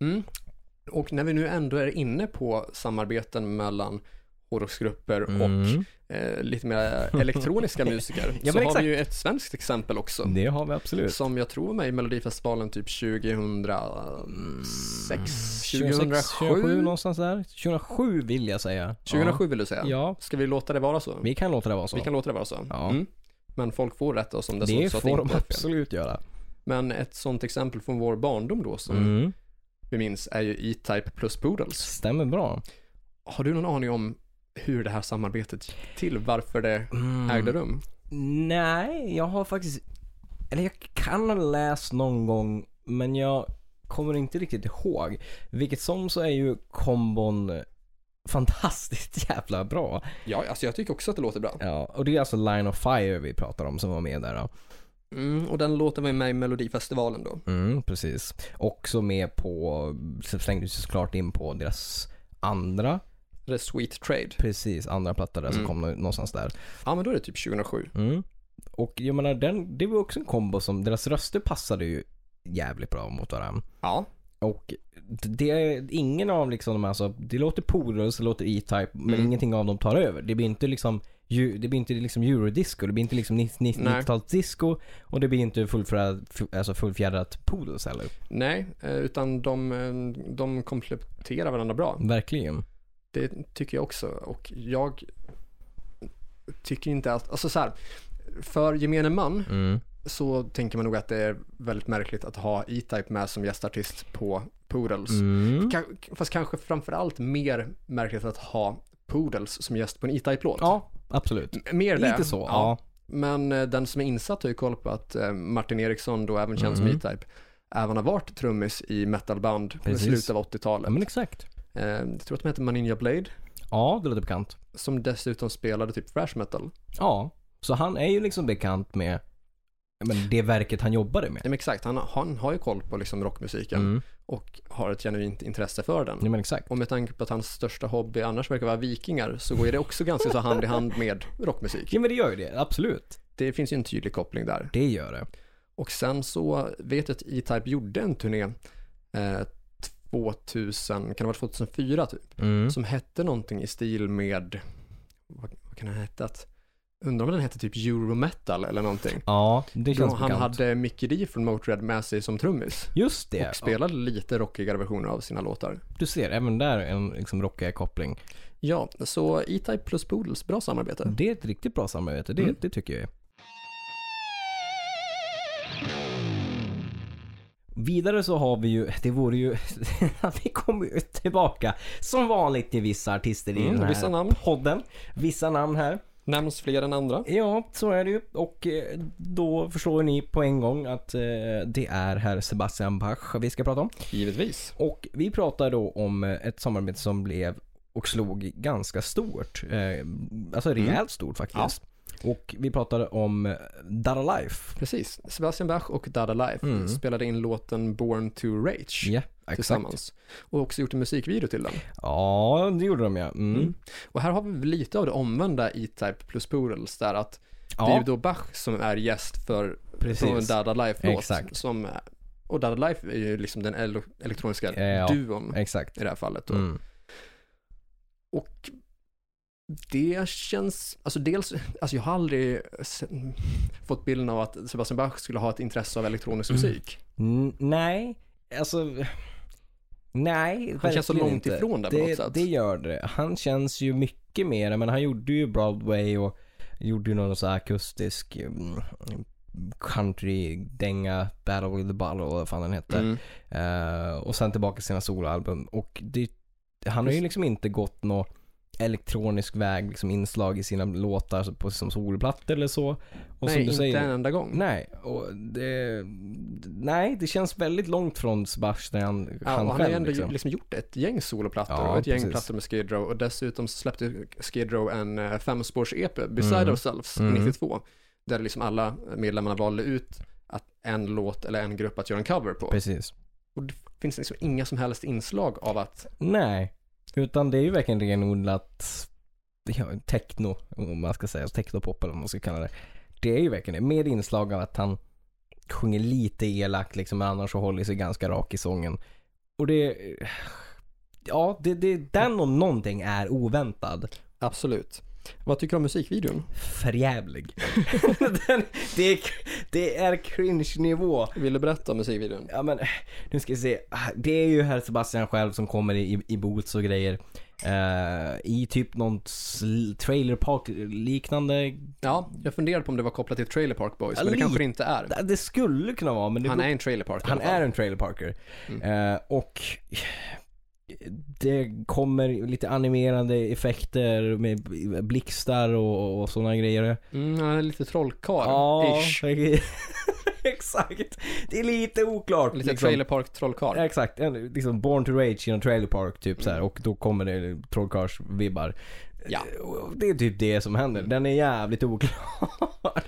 Mm. Och när vi nu ändå är inne på samarbeten mellan hårdrocksgrupper och
Mm.
eh,
[laughs]
lite mer elektroniska musiker
Ja,
så
men
har
exakt.
vi ju ett svenskt exempel också.
Det har vi absolut.
Som jag tror var med i Melodifestivalen typ 2006, 2007?
någonstans där. 2007 vill jag säga.
2007 vill du säga?
Ja. ja.
Ska vi låta det vara så?
Vi kan låta det vara så.
Vi kan låta det vara så.
Ja.
Mm. Men folk får rätta oss om det,
det
så, så
får de
att det inte är fel.
absolut göra.
Men ett sånt exempel från vår barndom då som
Mm.
vi minns är ju E-Type plus Poodles.
Stämmer bra.
Har du någon aning om hur det här samarbetet gick till? Varför det
Mm.
ägde rum?
Nej, jag har faktiskt... Eller jag kan ha läst någon gång, men jag kommer inte riktigt ihåg. Vilket som så är ju kombon fantastiskt [laughs] jävla bra.
Ja, alltså jag tycker också att det låter bra.
Ja, och det är alltså Line of Fire vi pratar om som var med där då.
Mm, och den låten var ju med i Melodifestivalen då.
Mm, precis. Också med på, så slängdes ju såklart in på deras andra,
The Sweet Trade.
precis andra platta där som
Mm.
kom nå- någonstans där.
Ja, men då är det typ 2007.
Mm. Och jag menar, den, det var också en kombo som, deras röster passade ju jävligt bra mot varandra.
Ja.
Och d- det är ingen av liksom de här, alltså, det låter Poodles, det låter E-Type, men
Mm.
ingenting av dem tar över. Det blir inte liksom ju- det blir inte liksom eurodisco, det blir inte liksom nitt- nitt-
Nej.
90-talsdisco och det blir inte fullfjädrat, f- alltså fullfjädrat poodles heller.
Nej, eh, utan de, eh, de kompletterar varandra bra.
Verkligen.
Det tycker jag också. Och jag tycker inte att, alltså så här, för gemene man
Mm.
så tänker man nog att det är väldigt märkligt att ha E-Type med som gästartist på Poodles.
Mm.
Ka- Fast kanske framförallt mer märkligt att ha Poodles som gäst på en E-Type-låt.
Ja, absolut.
M- Mer det.
Lite så. Ja.
Men eh, den som är insatt har ju koll på att eh, Martin Eriksson, då även
Mm.
känd som E-Type, även har varit trummis i metalband i
Precis. Mm.
slutet av
ja,
80-talet.
men exakt.
Eh, jag tror att de heter Maninja Blade,
Ja, det låter bekant.
som dessutom spelade typ thrash metal.
Ja, så han är ju liksom bekant med ja, men det verket han jobbade med.
Ja, men exakt, han, han har ju koll på liksom rockmusiken
Mm.
och har ett genuint intresse för den.
Ja, men exakt.
Och med tanke på att hans största hobby annars verkar vara vikingar så går ju det också ganska så hand i hand med rockmusik.
Ja, men det gör ju det. Absolut.
Det finns ju en tydlig koppling där.
Det gör det.
Och sen så vet jag att E-Type gjorde en turné eh, 2000, kan det vara 2004 typ,
Mm.
som hette någonting i stil med, vad, vad kan den ha hetat? Undrar om den hette typ Eurometal eller någonting.
Ja, det
Då
känns
han
bekant.
hade Mickey D från Motörhead med sig som trummis
Just det.
och spelade lite rockigare versioner av sina låtar.
Ja, Du ser, även där en liksom rockig koppling.
Ja, så E-Type plus Poodles, bra samarbete.
Det är ett riktigt bra samarbete, det,
Mm.
det tycker jag. Vidare så har vi ju, det vore ju, [laughs] vi kommer ju tillbaka som vanligt till vissa artister i
Mm,
den här
vissa namn.
podden. Vissa namn här.
Nämns fler än andra.
Ja, så är det ju. Och eh, då förstår ni på en gång att eh, det är herr Sebastian Bach vi ska prata om.
Givetvis.
Och vi pratar då om eh, ett samarbete som blev och slog ganska stort. Eh, alltså
Mm.
rejält stort faktiskt. Och vi pratade om eh, Dada Life.
Precis. Sebastian Bach och Dada Life
Mm.
spelade in låten Born to Rage
Ja, exakt.
tillsammans. Och också gjort en musikvideo till den.
Ja, det gjorde de ja. Mm.
Mm. Och här har vi lite av det omvända E-Type plus Poodles där att det är
Ja,
ju då Bach som är gäst för
Precis.
på en Dada Life-låt.
Exakt.
Som, och Dada Life är ju liksom den el- elektroniska
Ja, ja.
duon
exakt.
i det här fallet. Då.
Mm.
Och det känns, alltså dels, alltså jag har aldrig se- fått bilden av att Sebastian Bach skulle ha ett intresse av elektronisk
Mm.
musik.
N- nej, alltså... Nej,
Han känns så
verkligen
långt
inte.
ifrån det på något
det,
sätt.
det gör det. Han känns ju mycket mer, men han gjorde ju Broadway och gjorde ju någon så här akustisk mm, country-dänga, Battle with the Bottle eller vad fan den hette.
Mm.
Eh, och sen tillbaka till sina soloalbum. Och det, han har ju liksom inte gått någon elektronisk väg, liksom inslag i sina låtar på, som solplatt eller så. Och
Nej,
som du
inte
säger,
en enda gång.
Nej, och det, nej, det känns väldigt långt från Sebastian
Ja,
han
och han har ju
själv.
ändå
liksom.
liksom gjort ett gäng soloplattor
Ja,
och ett gäng
precis.
plattor med Skid Row och dessutom så släppte ju Skid Row en eh, femspårs-EP, Beside
Mm.
Ourselves,
Mm.
92, där liksom alla medlemmarna valde ut att en låt eller en grupp att göra en cover på.
Precis.
Och det finns liksom inga som helst inslag av att
Nej, utan det är ju verkligen renodlat ja, techno, om man ska säga, technopop eller vad man ska kalla det. Det är ju verkligen det, med inslag av att han sjunger lite elakt liksom, men annars så håller sig ganska rak i sången. Och det, ja, det, det, den om någonting är oväntad.
Absolut. Vad tycker du om musikvideon?
Förjävlig. [laughs] den, det, är, det är cringe-nivå.
Vill du berätta om musikvideon?
Ja men, nu ska vi se. Det är ju herr Sebastian själv som kommer i, i boots och grejer. Eh, I typ någon sl- trailerpark liknande.
Ja, jag funderade på om det var kopplat till Trailer Park Boys,
Ja,
men det kanske
lite.
det inte är.
Det skulle kunna vara men det
Han
beror-
är Mm. en Trailer Park i
han
alla fall.
är en trailerparker. Eh, och det kommer lite animerande effekter med blixtar och, och sådana grejer.
Mm, han är lite trollkarl
Ja,
ish
[laughs] exakt. Det är lite oklart.
Lite
liksom.
Trailer Park trollkarl.
Exakt, en, liksom Born to Rage i en trailer park typ så här och då kommer det trollkarls-vibbar.
Mm. Ja.
Och Det är typ det som händer. Den är jävligt oklar. [laughs]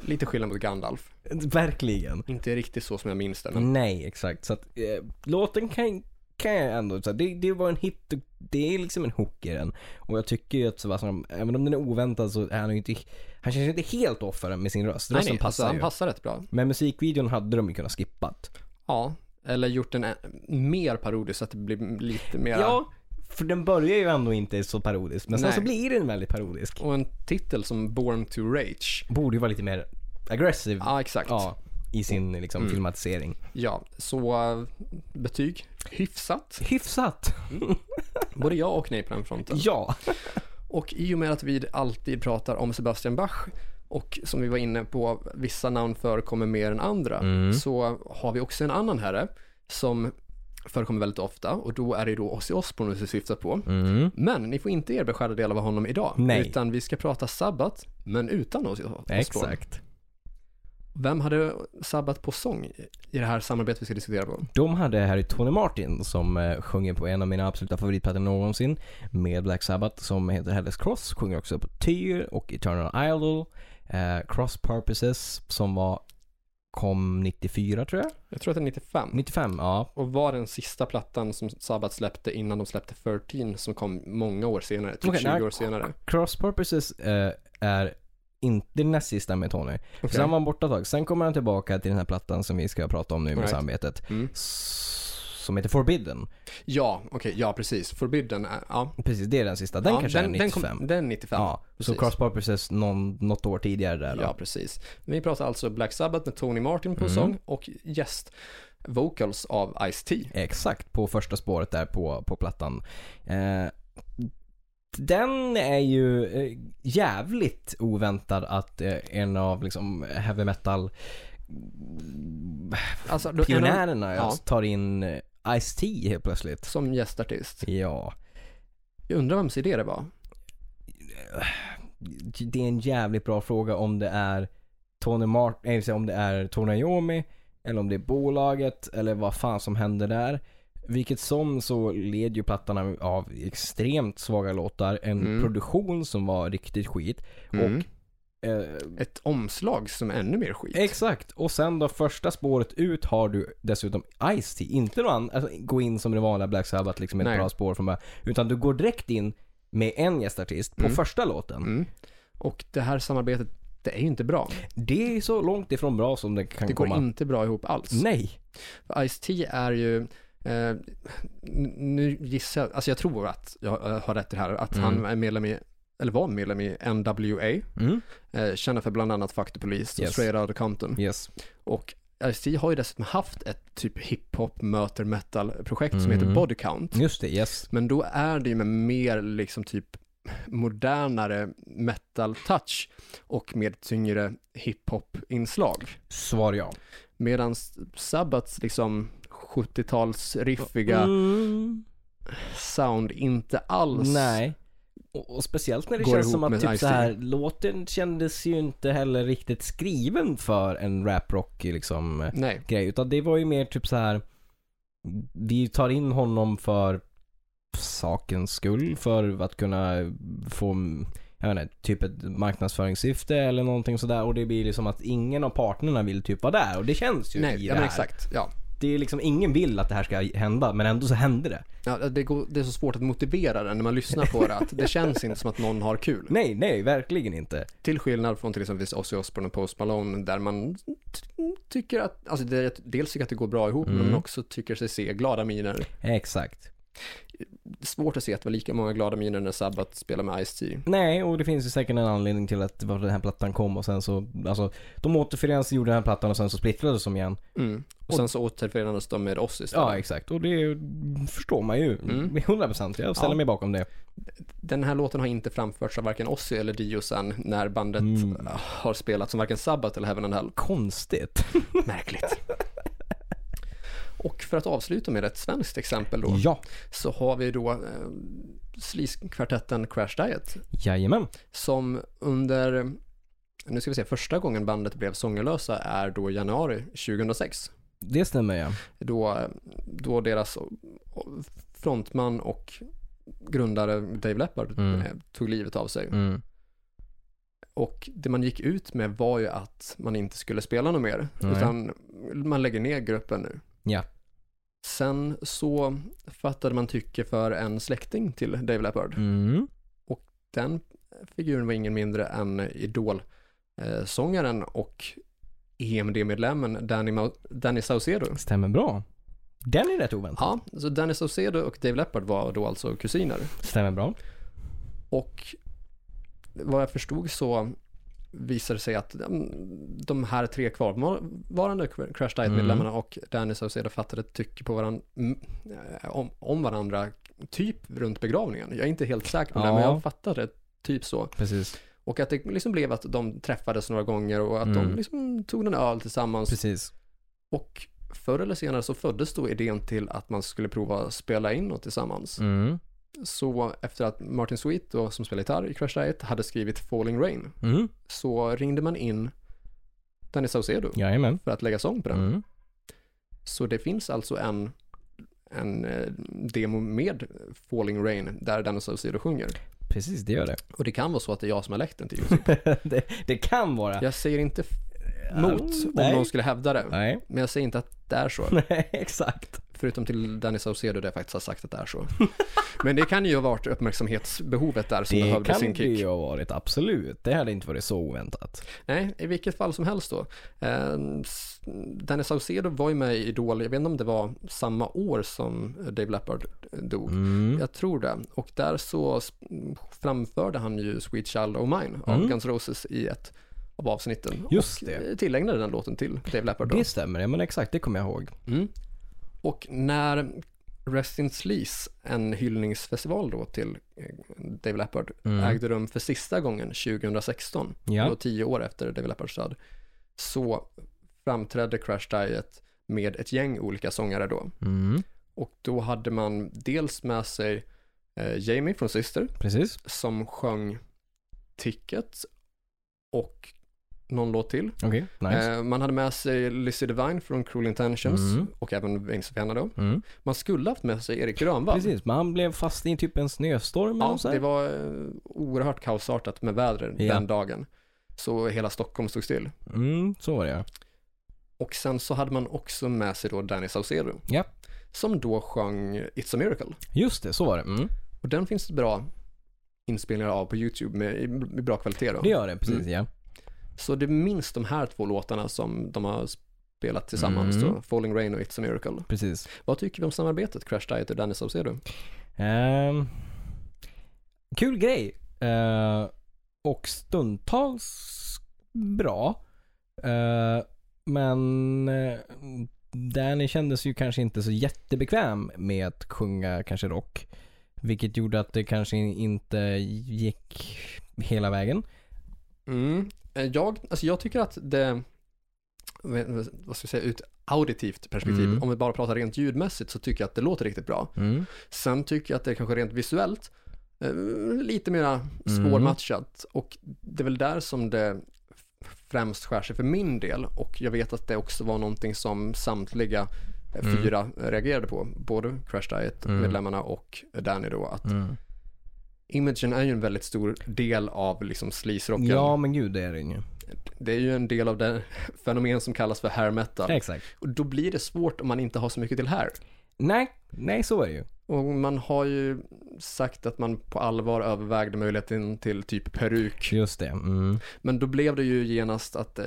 Lite skillnad mot Gandalf.
Verkligen.
Inte riktigt så som jag minns det, men
Nej, exakt. Så att eh, låten kan, kan jag ändå, så här, det, det var en hit, och det är liksom en hook i den. Och jag tycker ju att Sebastian, även om den är oväntad så är han ju inte, han känns ju inte helt off för den med sin röst.
nej,
Rösten
nej, alltså,
passar
han
ju.
passar rätt bra.
Men musikvideon hade de ju kunnat skippat.
Ja, eller gjort den ä- mer parodisk så att det blir lite mer...
Ja, för den börjar ju ändå inte så parodisk. Men sen
Nej.
så blir den väldigt parodisk.
Och en titel som Born to Rage.
Borde ju vara lite mer aggressiv
Ja, Mm. exakt. Ja,
ja, i sin liksom, filmatisering.
så äh, betyg? Hyfsat.
Hyfsat!
Både ja och nej på den fronten.
Ja.
Och i och med att vi alltid pratar om Sebastian Bach och som vi var inne på, vissa namn förekommer mer än andra, så har vi också en annan herre som förekommer väldigt ofta och då är det ju då Ozzy Osbourne vi syftar på. Men ni får inte er beskärda del av honom idag,
Nej.
utan vi ska prata Sabbat, men utan Ozzy Osbourne.
Exakt.
Vem hade Sabbat på sång i- i det här samarbetet vi ska diskutera på?
De hade Harry Tony Martin som eh, sjunger på en av mina absoluta favoritplattor någonsin med Black Sabbath som heter Hellas Cross. Sjunger också på Tyr och Eternal Idol. Eh, Cross Purposes som var kom 94 tror jag.
Jag tror att det är 95.
95, ja.
Och var den sista plattan som Sabbat släppte innan de släppte 13 som kom många år senare, typ
Okej,
20
nej.
år senare.
Cross Purposes eh, är inte det näst sista med Tony. För
Okej.
Sen var han borta ett tag. Sen kommer han tillbaka till den här plattan som vi ska prata om nu med
Right.
samarbetet.
Mm.
S- Som heter Forbidden.
Ja, okej, ja precis. Forbidden, är- ja.
Precis, det är den sista. Den
ja,
kanske är 95.
Den, kom, den 95.
ja, så
precis.
Cross Purposes någon, något år tidigare där då.
Ja, precis. Vi pratar alltså Black Sabbath med Tony Martin på
Mm.
sång och gäst vocals av Ice-T.
Exakt, på första spåret där på, på plattan. Eh, den är ju eh, jävligt oväntad att eh, en av liksom heavy metal
Alltså, då-
pionjärerna
ja.
tar in eh, Ice-T helt plötsligt.
Som gästartist.
Ja.
Jag undrar vems idé det var.
det är en jävligt bra fråga om det är Tony Martin, eller om det är Tony Iommi eller om det är bolaget eller vad fan som händer där. Vilket som så led ju plattan av extremt svaga låtar, en
Mm.
produktion som var riktigt skit.
Mm.
Och, eh,
Ett omslag som är ännu mer skit.
exakt, och sen då första spåret ut har du dessutom Ice-T. Inte någon annan, alltså, gå in som det vanliga Black Sabbath liksom ett
Nej.
bra spår från början. Utan du går direkt in med en gästartist på första låten.
Mm. Och det här samarbetet, det är ju inte bra.
Det är så långt ifrån bra som det kan
Det går
komma.
inte bra ihop alls.
Nej.
Ice-T är ju, eh, n- nu gissar jag, alltså jag tror att jag eh, har rätt i det här, att
Mm.
han är medlem i, eller var medlem i NWA, eh, känner för bland annat Fuck the Police och
Yes.
Straight Outta Compton.
Yes.
Och Ice-T har ju dessutom haft ett typ hiphop möter metal-projekt
Mm.
som heter Body Count.
Just det, yes.
Men då är det ju med mer liksom typ modernare metal-touch och med tyngre hiphop-inslag.
Svar ja.
Medan Sabbats liksom 70-tals riffiga
Mm.
sound inte alls.
Nej. Och, och speciellt när det
Går
känns
ihop
som att
med
typ
Ice-T.
så här, låten kändes ju inte heller riktigt skriven för en raprock liksom
Nej.
grej. Utan det var ju mer typ så här. vi tar in honom för sakens skull, för att kunna få, jag vet inte, typ ett marknadsföringssyfte eller någonting sådär. Och det blir liksom att ingen av partnerna vill typ vara där. Och det känns ju
Nej,
i
ja,
det
men
här.
exakt. Ja.
det är liksom ingen vill att det här ska hända men ändå så hände det.
Ja, det, går, det är så svårt att motivera det när man lyssnar på det. Att det känns inte som att någon har kul.
Nej, nej, verkligen inte.
Till skillnad från till exempel Ozzy Osbourne och Post Malone där man t- tycker att, alltså det, dels tycker att det går bra ihop men
Mm.
man också tycker sig se glada miner.
Exakt.
Svårt att se att det var lika många glada miner när Sabbath spelade med Ice-T.
Nej, och det finns ju säkert en anledning till att varför den här plattan kom och sen så, alltså de återförenades, gjorde den här plattan och sen så splittrades de igen.
Mm. Och sen så återförenades de med oss istället.
Ja, exakt. Och det förstår man ju. [laughs]
Mm.
100%. Jag ställer
Ja.
mig bakom det.
Den här låten har inte framförts av varken Ozzy eller Dio sen när bandet
Mm.
har spelat som varken Sabbath eller Heaven
[laughs]
and Hell.
Konstigt.
Märkligt. Och för att avsluta med ett svenskt exempel då,
Ja,
så har vi då eh, Sleaze-kvartetten Crash Diet
jajamän.
som under, nu ska vi se, första gången bandet blev sångerlösa är då januari 2006.
Det stämmer ja.
Då, då deras frontman och grundare Dave Leppard
Mm.
eh, tog livet av sig.
Mm.
Och det man gick ut med var ju att man inte skulle spela något mer,
Nej.
utan man lägger ner gruppen nu.
Ja.
Sen så fattade man tycke för en släkting till Dave Leppard.
Mm.
Den figuren var ingen mindre än Idol-sångaren och EMD-medlemmen Danny, Mau- Danny Saucedo.
Stämmer bra. Den är rätt oväntad.
Ja, så Danny Saucedo och Dave Leppard var då alltså kusiner.
Stämmer bra.
Och vad jag förstod så visade det sig att mm, de här tre kvarvarande Crash
Mm.
Diet-medlemmarna och Danny Saucedo fattade tycke på varandra, om, om varandra, typ runt begravningen. Jag är inte helt säker på det,
Ja.
men jag fattade typ så.
Precis.
Och att det liksom blev att de träffades några gånger och att de
Mm.
liksom tog en öl tillsammans.
Precis.
Och förr eller senare så föddes då idén till att man skulle prova att spela in något tillsammans.
Mm.
Så efter att Martin Sweet, då, som spelar gitarr i Crash Diet, hade skrivit Falling Rain
Mm.
så ringde man in Danny Saucedo
Jajamän.
för att lägga sång på den.
Mm.
Så det finns alltså en, en eh, demo med Falling Rain där Danny Saucedo sjunger.
Precis, det gör det.
Och det kan vara så att det är jag som har läckt den
[laughs]
till Youtube.
Typ. det. Det kan vara.
Jag säger inte f- emot
Mm,
om
nej.
någon skulle hävda det.
Nej. [laughs]
Men jag säger inte att det är så.
Nej, exakt.
Förutom till Danny Saucedo där jag faktiskt har sagt att det
[laughs]
är så. Men det kan ju ha varit uppmärksamhetsbehovet där som
Det
behövde
kan
sin
det
kick.
ju ha varit, absolut. Det hade inte varit så oväntat.
Nej, i vilket fall som helst då. Eh, s- Danny Saucedo var ju med i Idol, jag vet inte om det var samma år som Dave Leppard dog.
Mm.
Jag tror det. Och där så sp- framförde han ju Sweet Child O' Mine av
Mm.
Guns Roses i ett av avsnitten.
Just
och
det.
eh, tillägnade den låten till Dave Leppard då.
Det stämmer, ja men exakt, det kommer jag ihåg.
Mm. Och när Rest in Sleaze, en hyllningsfestival då till eh, Dave Leppard,
Mm.
ägde rum för sista gången 2016,
Ja.
då tio år efter Dave Leppards död, så framträdde Crash Diet med ett gäng olika sångare då.
Mm.
Och då hade man dels med sig eh, Jamie från Sister
Precis.
som sjöng Ticket och någon låt till.
Okej, nice.
Eh, man hade med sig Lizzie Devine från Cruel Intentions
Mm.
och även Wings of Vienna då.
Mm.
Man skulle haft med sig Erik Grönvall.
Precis, men han blev fast i typ en snöstorm eller
Ja,
så här.
det var eh, oerhört kaosartat med vädret
Ja.
den dagen. Så hela Stockholm stod still.
Mm, så var det ja.
Och sen så hade man också med sig då Danny Saucedo.
Ja.
Som då sjöng It's a Miracle.
Just det, så var det. Mm.
Och den finns det bra inspelningar av på YouTube med, i- med bra kvalitet då.
Det gör det,
Mm.
precis ja.
Så det är minst de här två låtarna som de har spelat tillsammans
Mm.
då, Falling Rain och It's a Miracle.
Precis.
Vad tycker vi om samarbetet Crash Diet och Danny Saucedo?
Ehm, kul grej. Eh, och stundtals bra. Eh, men eh, Danny kändes ju kanske inte så jättebekväm med att sjunga kanske rock. Vilket gjorde att det kanske inte gick hela vägen.
Mm. Eh, Jag, alltså jag tycker att det, vad vad ska jag säga, ur ett auditivt perspektiv,
Mm.
om vi bara pratar rent ljudmässigt så tycker jag att det låter riktigt bra. Sen tycker jag att det är kanske rent visuellt eh, lite mer
Mm.
svårmatchat och det är väl där som det främst skär sig för min del och jag vet att det också var någonting som samtliga eh,
Mm.
fyra reagerade på, både Crash Diet-medlemmarna och Danny då, att imagen är ju en väldigt stor del av liksom sleaze-rocken.
Ja men gud det är det ju.
det är ju en del av det fenomen som kallas för hair metal.
Exakt.
Och då blir det svårt om man inte har så mycket till hair.
Nej, nej så är det ju.
Och man har ju sagt att man på allvar övervägde möjligheten till typ peruk.
Just det. Mm.
Men då blev det ju genast att eh,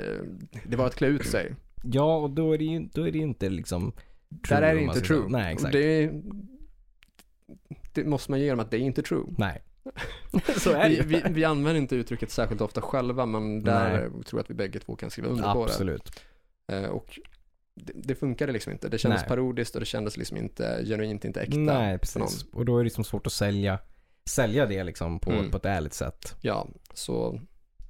det var att klä ut sig.
Ja, och då är det ju då är det ju inte liksom true,
Där är det
om man
inte
säger så.
true.
Nej, exakt.
Och Det, det måste man ge dem att det är inte true.
Nej. [laughs] så är det
Vi,
ju.
vi, vi använder inte uttrycket särskilt ofta själva men där
Nej.
eh, tror jag att vi bägge två kan skriva under på det.
Absolut.
Eh, Och det, det funkade liksom inte. Det kändes
Nej.
parodiskt och det kändes liksom inte genuint, inte äkta.
Nej,
för någon.
precis. Och då är det liksom svårt att sälja, sälja det liksom på,
Mm.
på ett ärligt sätt.
Ja, så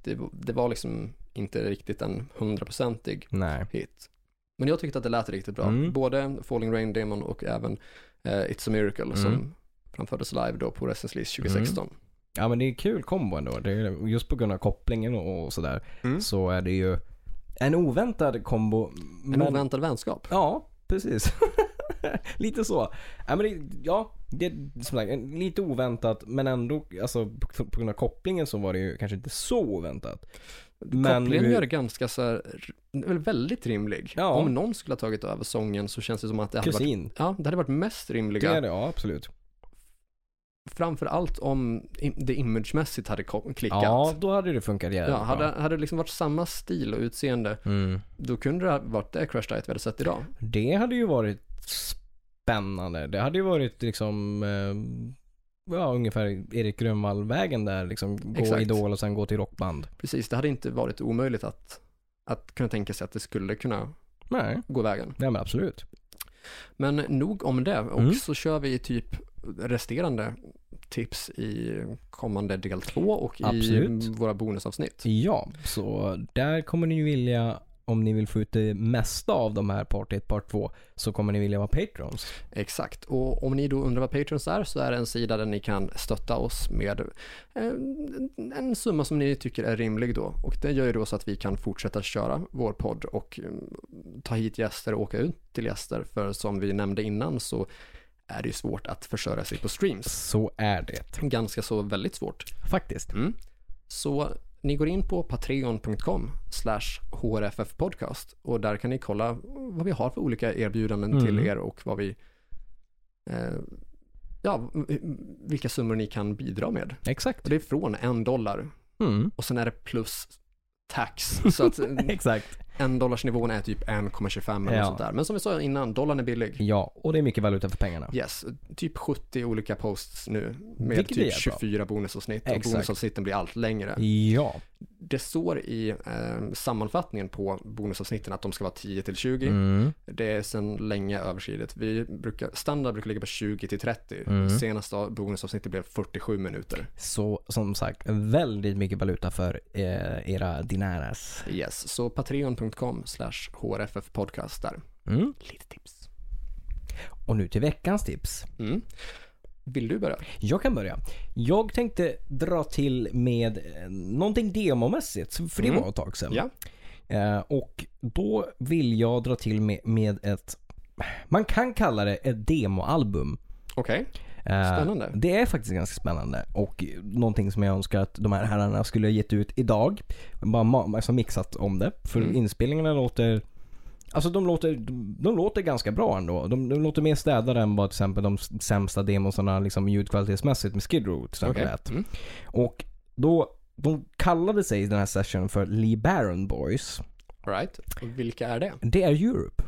det, det var liksom inte riktigt en hundraprocentig
Nej.
hit. Men jag tyckte att det lät riktigt bra.
Mm.
Både Falling Rain Demon och även eh, It's a Miracle
Mm.
som framfördes live då på Restless Lease 2016.
Ja men det är kul kombo ändå. Det är, just på grund av kopplingen och, och sådär
Mm.
så är det ju en oväntad kombo.
En
men-
oväntad vänskap.
Ja, precis. [laughs] lite så. Ja, men det, ja det, är som sagt, en- lite oväntat men ändå alltså, på, på grund av kopplingen så var det ju kanske inte så oväntat. Men
Kopplingen
hur-
är ganska så här, den är väl väldigt rimlig.
Ja.
Om någon skulle ha tagit över sången så känns det som att det hade varit,
Kusin.
ja, det hade varit mest
Det
rimliga.
är det, ja absolut.
Framför allt om i- det imagemässigt hade ko- klickat.
Ja, då hade det funkat jävligt
Ja, hade,
bra.
hade det liksom varit samma stil och utseende,
Mm.
då kunde det ha varit det Crash Diet vi hade sett idag.
Det hade ju varit spännande. Det hade ju varit liksom eh, ja, ungefär Erik Grönvall-vägen där. Liksom, gå
Exakt.
Idol och sen gå till rockband.
Precis, det hade inte varit omöjligt att, att kunna tänka sig att det skulle kunna
Nej,
gå vägen.
nej men absolut.
Men nog om det, och
Mm.
så kör vi typ resterande tips i kommande del två och i
Absolut.
våra bonusavsnitt.
Ja, så där kommer ni ju vilja, om ni vill få ut det mesta av de här part 1, part 2, så kommer ni vilja vara patrons.
Exakt, och om ni då undrar vad Patreons är så är det en sida där ni kan stötta oss med eh, en summa som ni tycker är rimlig då. Och det gör ju då så att vi kan fortsätta köra vår podd och eh, ta hit gäster och åka ut till gäster. För som vi nämnde innan så är det ju svårt att försörja sig på streams.
Så är det.
Ganska så väldigt svårt.
Faktiskt.
Typ. Så ni går in på patreon.com slash hrffpodcast och där kan ni kolla vad vi har för olika erbjudanden
Mm.
till er och vad vi eh, ja, vilka summor ni kan bidra med.
Exakt.
Och det är från en dollar
Mm.
och sen är det plus
[laughs]
tax. Så att eh,
Exakt.
en dollarsnivån är typ 1,25 eller
Ja.
något sånt där. Men som vi sa innan, dollarn är billig.
Ja, och det är mycket valuta för pengarna.
Yes, typ 70 olika posts nu med
Vilket är
typ
jättebra.
24 bonusavsnitt och
Exakt.
bonusavsnitten blir allt längre.
Ja.
Det står i eh, sammanfattningen på bonusavsnitten att de ska vara 10 till 20.
Mm.
Det är sedan länge överskridet. Vi brukar, standard brukar ligga på 20 till 30.
Mm.
Senaste bonusavsnittet blev 47 minuter.
Så som sagt, väldigt mycket valuta för eh, era dinaras.
Yes, så patreon.com slash hrffpodcast där.
Mm.
Lite tips.
Och nu till veckans tips.
Mm. Vill du börja?
Jag kan börja. Jag tänkte dra till med eh, någonting demomässigt, för det
Mm.
var ett tag sedan.
Ja.
Eh, och då vill jag dra till med, med ett, man kan kalla det ett demoalbum.
Okej,
Eh,
Spännande.
Det är faktiskt ganska spännande och någonting som jag önskar att de här herrarna skulle ha gett ut idag. Bara ma- alltså mixat om det. För
Mm.
inspelningarna låter Alltså de låter, de, de låter ganska bra ändå. De, de låter mer städade än vad till exempel de s- sämsta demosarna liksom ljudkvalitetsmässigt med Skid Row till exempel
okej.
lät.
Mm.
Och då, de kallade sig i den här sessionen för Lee Baron Boys.
All right. Och Vilka är det?
Det är Europe.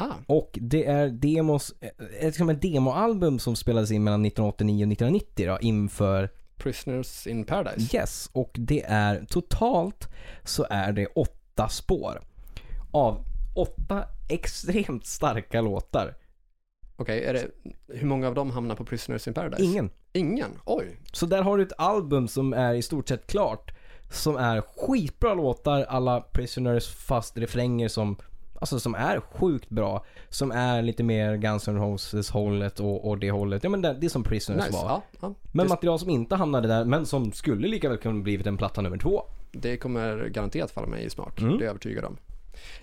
Ah,
Och det är demos, eh, eh, liksom ett demoalbum som spelades in mellan 1989 och 1990 då, inför
Prisoners in Paradise.
Yes. Och det är totalt så är det åtta spår. Av åtta extremt starka låtar.
Okej, är det, hur många av dem hamnar på Prisoners in Paradise?
Ingen.
Ingen? Oj.
Så där har du ett album som är i stort sett klart. Som är skitbra låtar alla Prisoners fast refränger som Alltså som är sjukt bra. Som är lite mer Guns N' Roses hållet och, och det hållet. Ja men det, det är som Prisoners
Nice.
var.
Ja, ja.
Men
Det-
material som inte hamnade där, men som skulle lika väl kunna blivit en platta nummer två. Mm.
Det kommer garanterat falla mig i smak, det är jag övertygad om.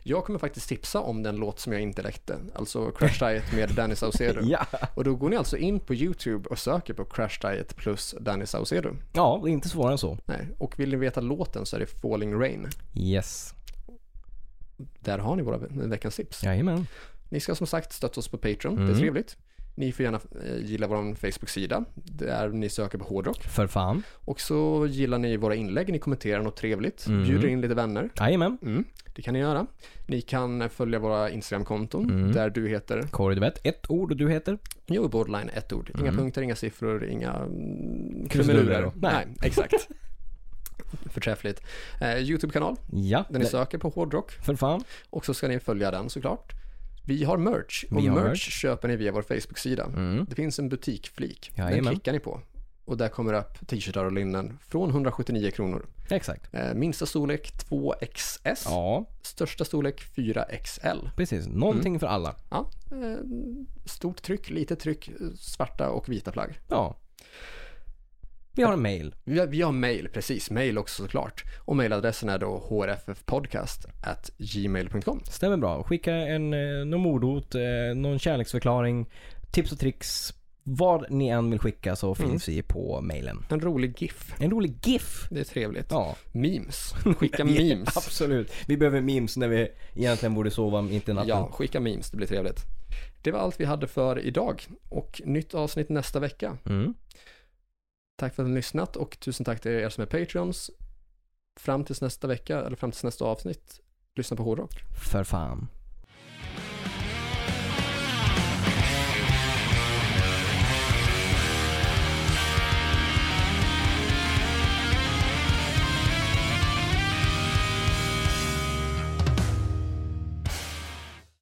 Jag kommer faktiskt tipsa om den låt som jag inte läckte, alltså
[laughs]
Crash Diet med Danny Saucedo.
Ja.
Och då går ni alltså in på YouTube och söker på Crash Diet plus Danny Saucedo.
ja, det är inte svårare än så.
Nej. Och vill ni veta låten så är det Falling Rain.
Yes.
Där har ni våra veckans tips.
Jajamän.
Ni ska som sagt stötta oss på Patreon, det är
Mm.
trevligt. Ni får gärna eh, gilla vår Facebook-sida, där ni söker på hårdrock.
För fan.
Och så gillar ni våra inlägg, ni kommenterar något trevligt,
Mm.
bjuder in lite vänner.
Jajamän.
Mm, det kan ni göra. Ni kan följa våra Instagram-konton,
Mm.
där du heter
Corey, du vet. Ett ord och du heter?
Jo, borderline, ett ord. Inga
Mm.
punkter, inga siffror, inga mm,
Krusiduller.
krumelurer.
Nej.
Nej,
[laughs]
exakt. Förträffligt. Eh, Youtube-kanal,
Ja.
där ni
det-
söker på hårdrock.
För fan.
Och så ska ni följa den såklart. Vi har merch och
Vi har
merch,
merch.
köper ni via vår Facebook-sida.
Mm.
Det finns en butikflik. Den
Jajamän.
klickar ni på. Och där kommer det upp t-shirtar och linnen från 179 kronor.
Exakt.
Eh, Minsta storlek 2XS.
Ja, Mm.
Största storlek 4XL.
precis. Någonting för alla.
Ja, eh, stort tryck, litet tryck, eh, svarta och vita plagg.
Ja. Vi har en mail.
Vi har, vi har mail, precis. Mail också såklart. Och mailadressen är då hrffpodcast at gmail.com.
Stämmer bra. Skicka en, eh, någon mordhot, eh, någon kärleksförklaring, tips och tricks. Vad ni än vill skicka så finns vi på mailen.
En rolig GIF.
En rolig GIF.
Det är trevligt.
Ja,
Memes. [laughs] Skicka
Ja, [laughs]
memes.
absolut. Vi behöver memes när vi egentligen borde sova mitt i natten.
Ja, skicka memes. Det blir trevligt. Det var allt vi hade för idag och nytt avsnitt nästa vecka.
Mm.
Tack för att ni har lyssnat och tusen tack till er som är Patreons. Fram tills nästa vecka, eller fram tills nästa avsnitt, lyssna på hårdrock.
För fan.